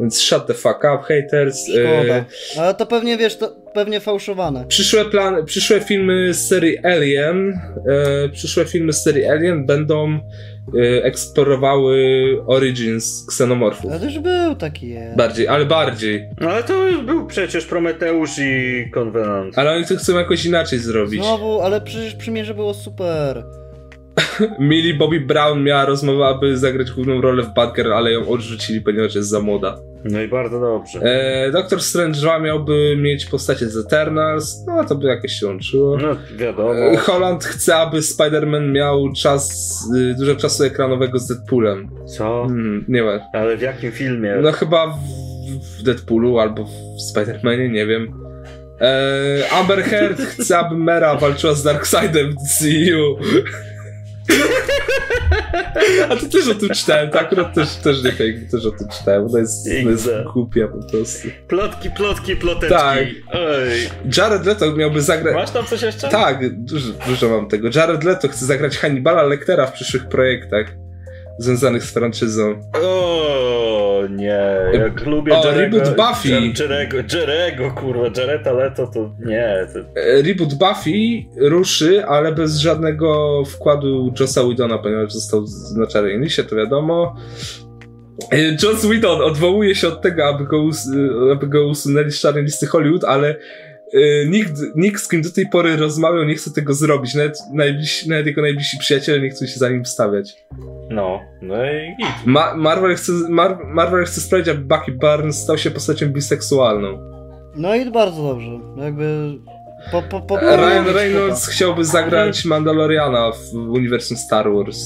S1: Więc shut the fuck up, haters.
S3: Szkoda.
S1: E,
S3: Ale to pewnie, wiesz, to pewnie fałszowane.
S1: przyszłe, plan, przyszłe filmy z serii Alien, e, przyszłe filmy z serii Alien będą e, eksplorowały origins ksenomorfów.
S3: Ale też był taki je.
S1: Bardziej, ale bardziej.
S2: No ale to już był przecież Prometeusz i Konwenant.
S1: Ale oni to chcą jakoś inaczej zrobić.
S3: Znowu, ale przecież przymierze było super.
S1: Millie Bobby Brown miała rozmowę, aby zagrać główną rolę w Bad Girl, ale ją odrzucili, ponieważ jest za młoda.
S2: No i bardzo dobrze.
S1: E, Doktor Strange 2 miałby mieć postacie z Eternals, no to by jakoś się łączyło.
S2: No wiadomo.
S1: E, Holland chce, aby Spider-Man miał czas, y, dużo czasu ekranowego z Deadpoolem.
S2: Co?
S1: Mm, nie wiem.
S2: Ale w jakim filmie?
S1: No chyba w, w Deadpoolu albo w Spider-Manie, nie wiem. E, Amber Heard chce, aby Mera walczyła z Darkseidem w DCU. A to też o tym czytałem, to akurat też, też nie fake, też o tym czytałem, to jest, to jest
S2: XD.
S1: głupia po prostu.
S2: Plotki, plotki, ploteczki.
S1: Tak.
S2: Ej.
S1: Jared Leto miałby zagrać.
S2: Masz tam coś jeszcze?
S1: Tak, dużo, dużo mam tego. Jared Leto chce zagrać Hannibala Lectera w przyszłych projektach związanych z franczyzą.
S2: O nie, jak lubię
S1: E, o,
S2: Jerego,
S1: reboot Buffy.
S2: Jer- Jerego, Jerego, kurwa, Jareta Leto to nie. To...
S1: E, Reboot Buffy ruszy, ale bez żadnego wkładu Jossa Widona, ponieważ został z- na czarnej liście, to wiadomo. E, Joss Whedon odwołuje się od tego, aby go, us- e, aby go usunęli z czarnej listy Hollywood, ale e, nikt, nikt, z kim do tej pory rozmawiał, nie chce tego zrobić. Nawet, najbliż, nawet jego najbliżsi przyjaciele nie chcą się za nim wstawiać.
S2: No, no i git.
S1: Ma- Marvel, chce, Mar- Marvel chce sprawić, aby Bucky Barnes stał się postacią biseksualną.
S3: No i bardzo dobrze. Jakby. Po, po, po,
S1: E, Ryan Reynolds chciałby zagrać Mandaloriana w uniwersum Star Wars.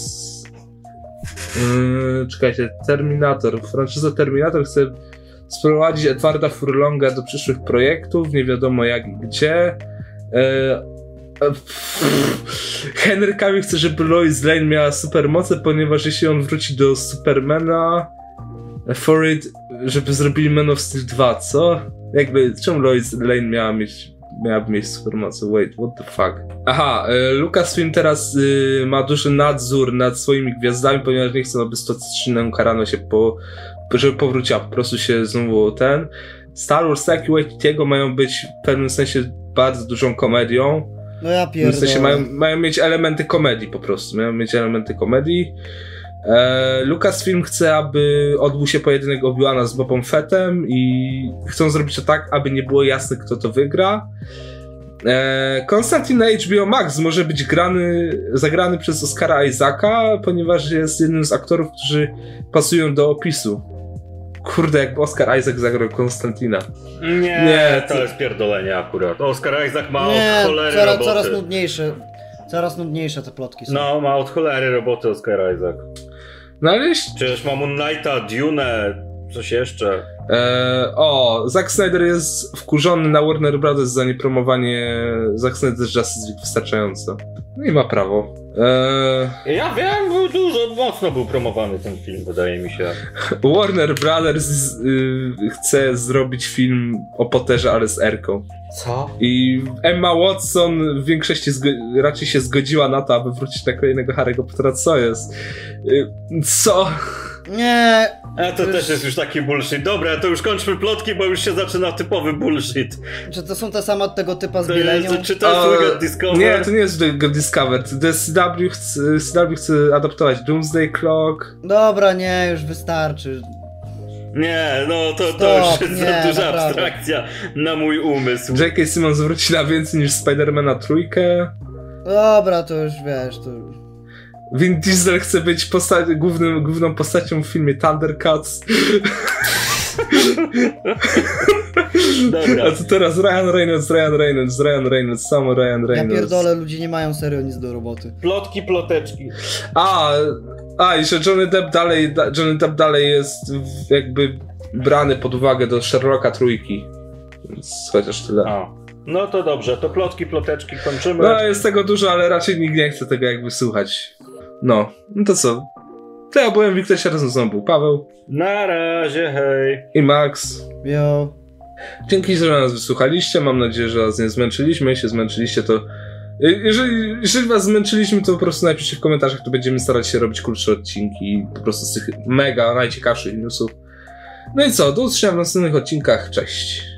S1: Yy, czekajcie, Terminator. Franczyza Terminator chce sprowadzić Edwarda Furlonga do przyszłych projektów, nie wiadomo jak i gdzie. E, e, pff. Henry Cavill chce, żeby Lois Lane miała supermoce, ponieważ jeśli on wróci do Supermana, for it, żeby zrobili Man of Steel 2, co? Jakby, czemu Lois Lane miała mieć miałaby mieć supermoce? Wait, what the fuck? Aha, e, Lucasfilm teraz y, ma duży nadzór nad swoimi gwiazdami, ponieważ nie chcą, aby stoczynę karano się po żeby powróciła, po prostu się znowu ten. Star Wars tak i Waititiego mają być w pewnym sensie bardzo dużą komedią.
S3: No ja
S1: W pewnym sensie
S3: pierdolę.
S1: mają, mają mieć elementy komedii po prostu. Mają mieć elementy komedii. E, Lucasfilm chce, aby odbył się pojedynek Obi-Wana z Bobą Fettem i chcą zrobić to tak, aby nie było jasne, kto to wygra. E, Konstantin na HBO Max może być grany, zagrany przez Oscara Isaaca, ponieważ jest jednym z aktorów, którzy pasują do opisu. Kurde, jakby Oscar Isaac zagrał Konstantina.
S2: Nie,
S1: Nie,
S2: to
S1: to-
S2: jest pierdolenie akurat. Oskar Isaac ma od
S3: Nie,
S2: cholery
S3: coraz,
S2: roboty.
S3: coraz nudniejsze. Coraz nudniejsze te plotki są.
S2: No, ma od cholery roboty Oscar Isaac.
S1: No ale jeśli...
S2: Przecież ma Moon Knighta, Dune, coś jeszcze.
S1: E, o, Zack Snyder jest wkurzony na Warner Brothers za niepromowanie Zack Snyder Justice League wystarczająco. No i ma prawo. E,
S2: Ja wiem, był dużo, mocno był promowany ten film, wydaje mi się.
S1: Warner Brothers y, chce zrobić film o Potterze, ale z Erką.
S2: Co?
S1: I Emma Watson w większości zgo- raczej się zgodziła na to, aby wrócić na kolejnego Harry'ego Pottera, co jest? Y, Co?
S3: Nie,
S2: A to też jest już taki bullshit. Dobra, to już kończmy plotki, bo już się zaczyna typowy bullshit.
S3: czy to są te same od tego typa z
S2: To
S3: Bielenią?
S2: jest, czy to jest
S1: A,
S2: Wicked Discover?
S1: Nie, to nie jest The Discovered. The CW chce, CW chce adaptować Doomsday Clock.
S3: Dobra, nie, już wystarczy.
S2: Nie, no to, to
S3: Stop,
S2: już jest
S3: nie,
S2: za duża
S3: naprawdę.
S2: abstrakcja na mój umysł.
S1: J.K. Simmons wróci na więcej niż Spidermana trójkę.
S3: Dobra, to już wiesz, to już.
S1: Vin Diesel chce być posta- głównym, główną postacią w filmie Thundercats.
S2: Dobra.
S1: A to teraz Ryan Reynolds, Ryan Reynolds, Ryan Reynolds, samo Ryan
S3: Ja
S1: Reynolds.
S3: pierdolę, ludzie nie mają serio nic do roboty.
S2: Plotki, ploteczki.
S1: A, a i że Johnny Depp dalej, da, Johnny Depp dalej jest w- jakby brany pod uwagę do Sherlocka trójki. Więc chociaż tyle.
S2: A. No to dobrze, to plotki, ploteczki kończymy.
S1: No jest tego dużo, ale raczej nikt nie chce tego jakby słuchać. No, no to co? To ja byłem Wiktor, się razem ze mną był Paweł
S2: Na razie, hej.
S1: i Max.
S3: Jo,
S1: Dzięki, że nas wysłuchaliście. Mam nadzieję, że was nie zmęczyliśmy. Jeśli się zmęczyliście, to. y, Jeżeli, jeżeli was zmęczyliśmy, to po prostu napiszcie w komentarzach, to będziemy starać się robić krótsze odcinki po prostu z tych mega najciekawszych newsów. No i co, do usłyszenia w następnych odcinkach. Cześć.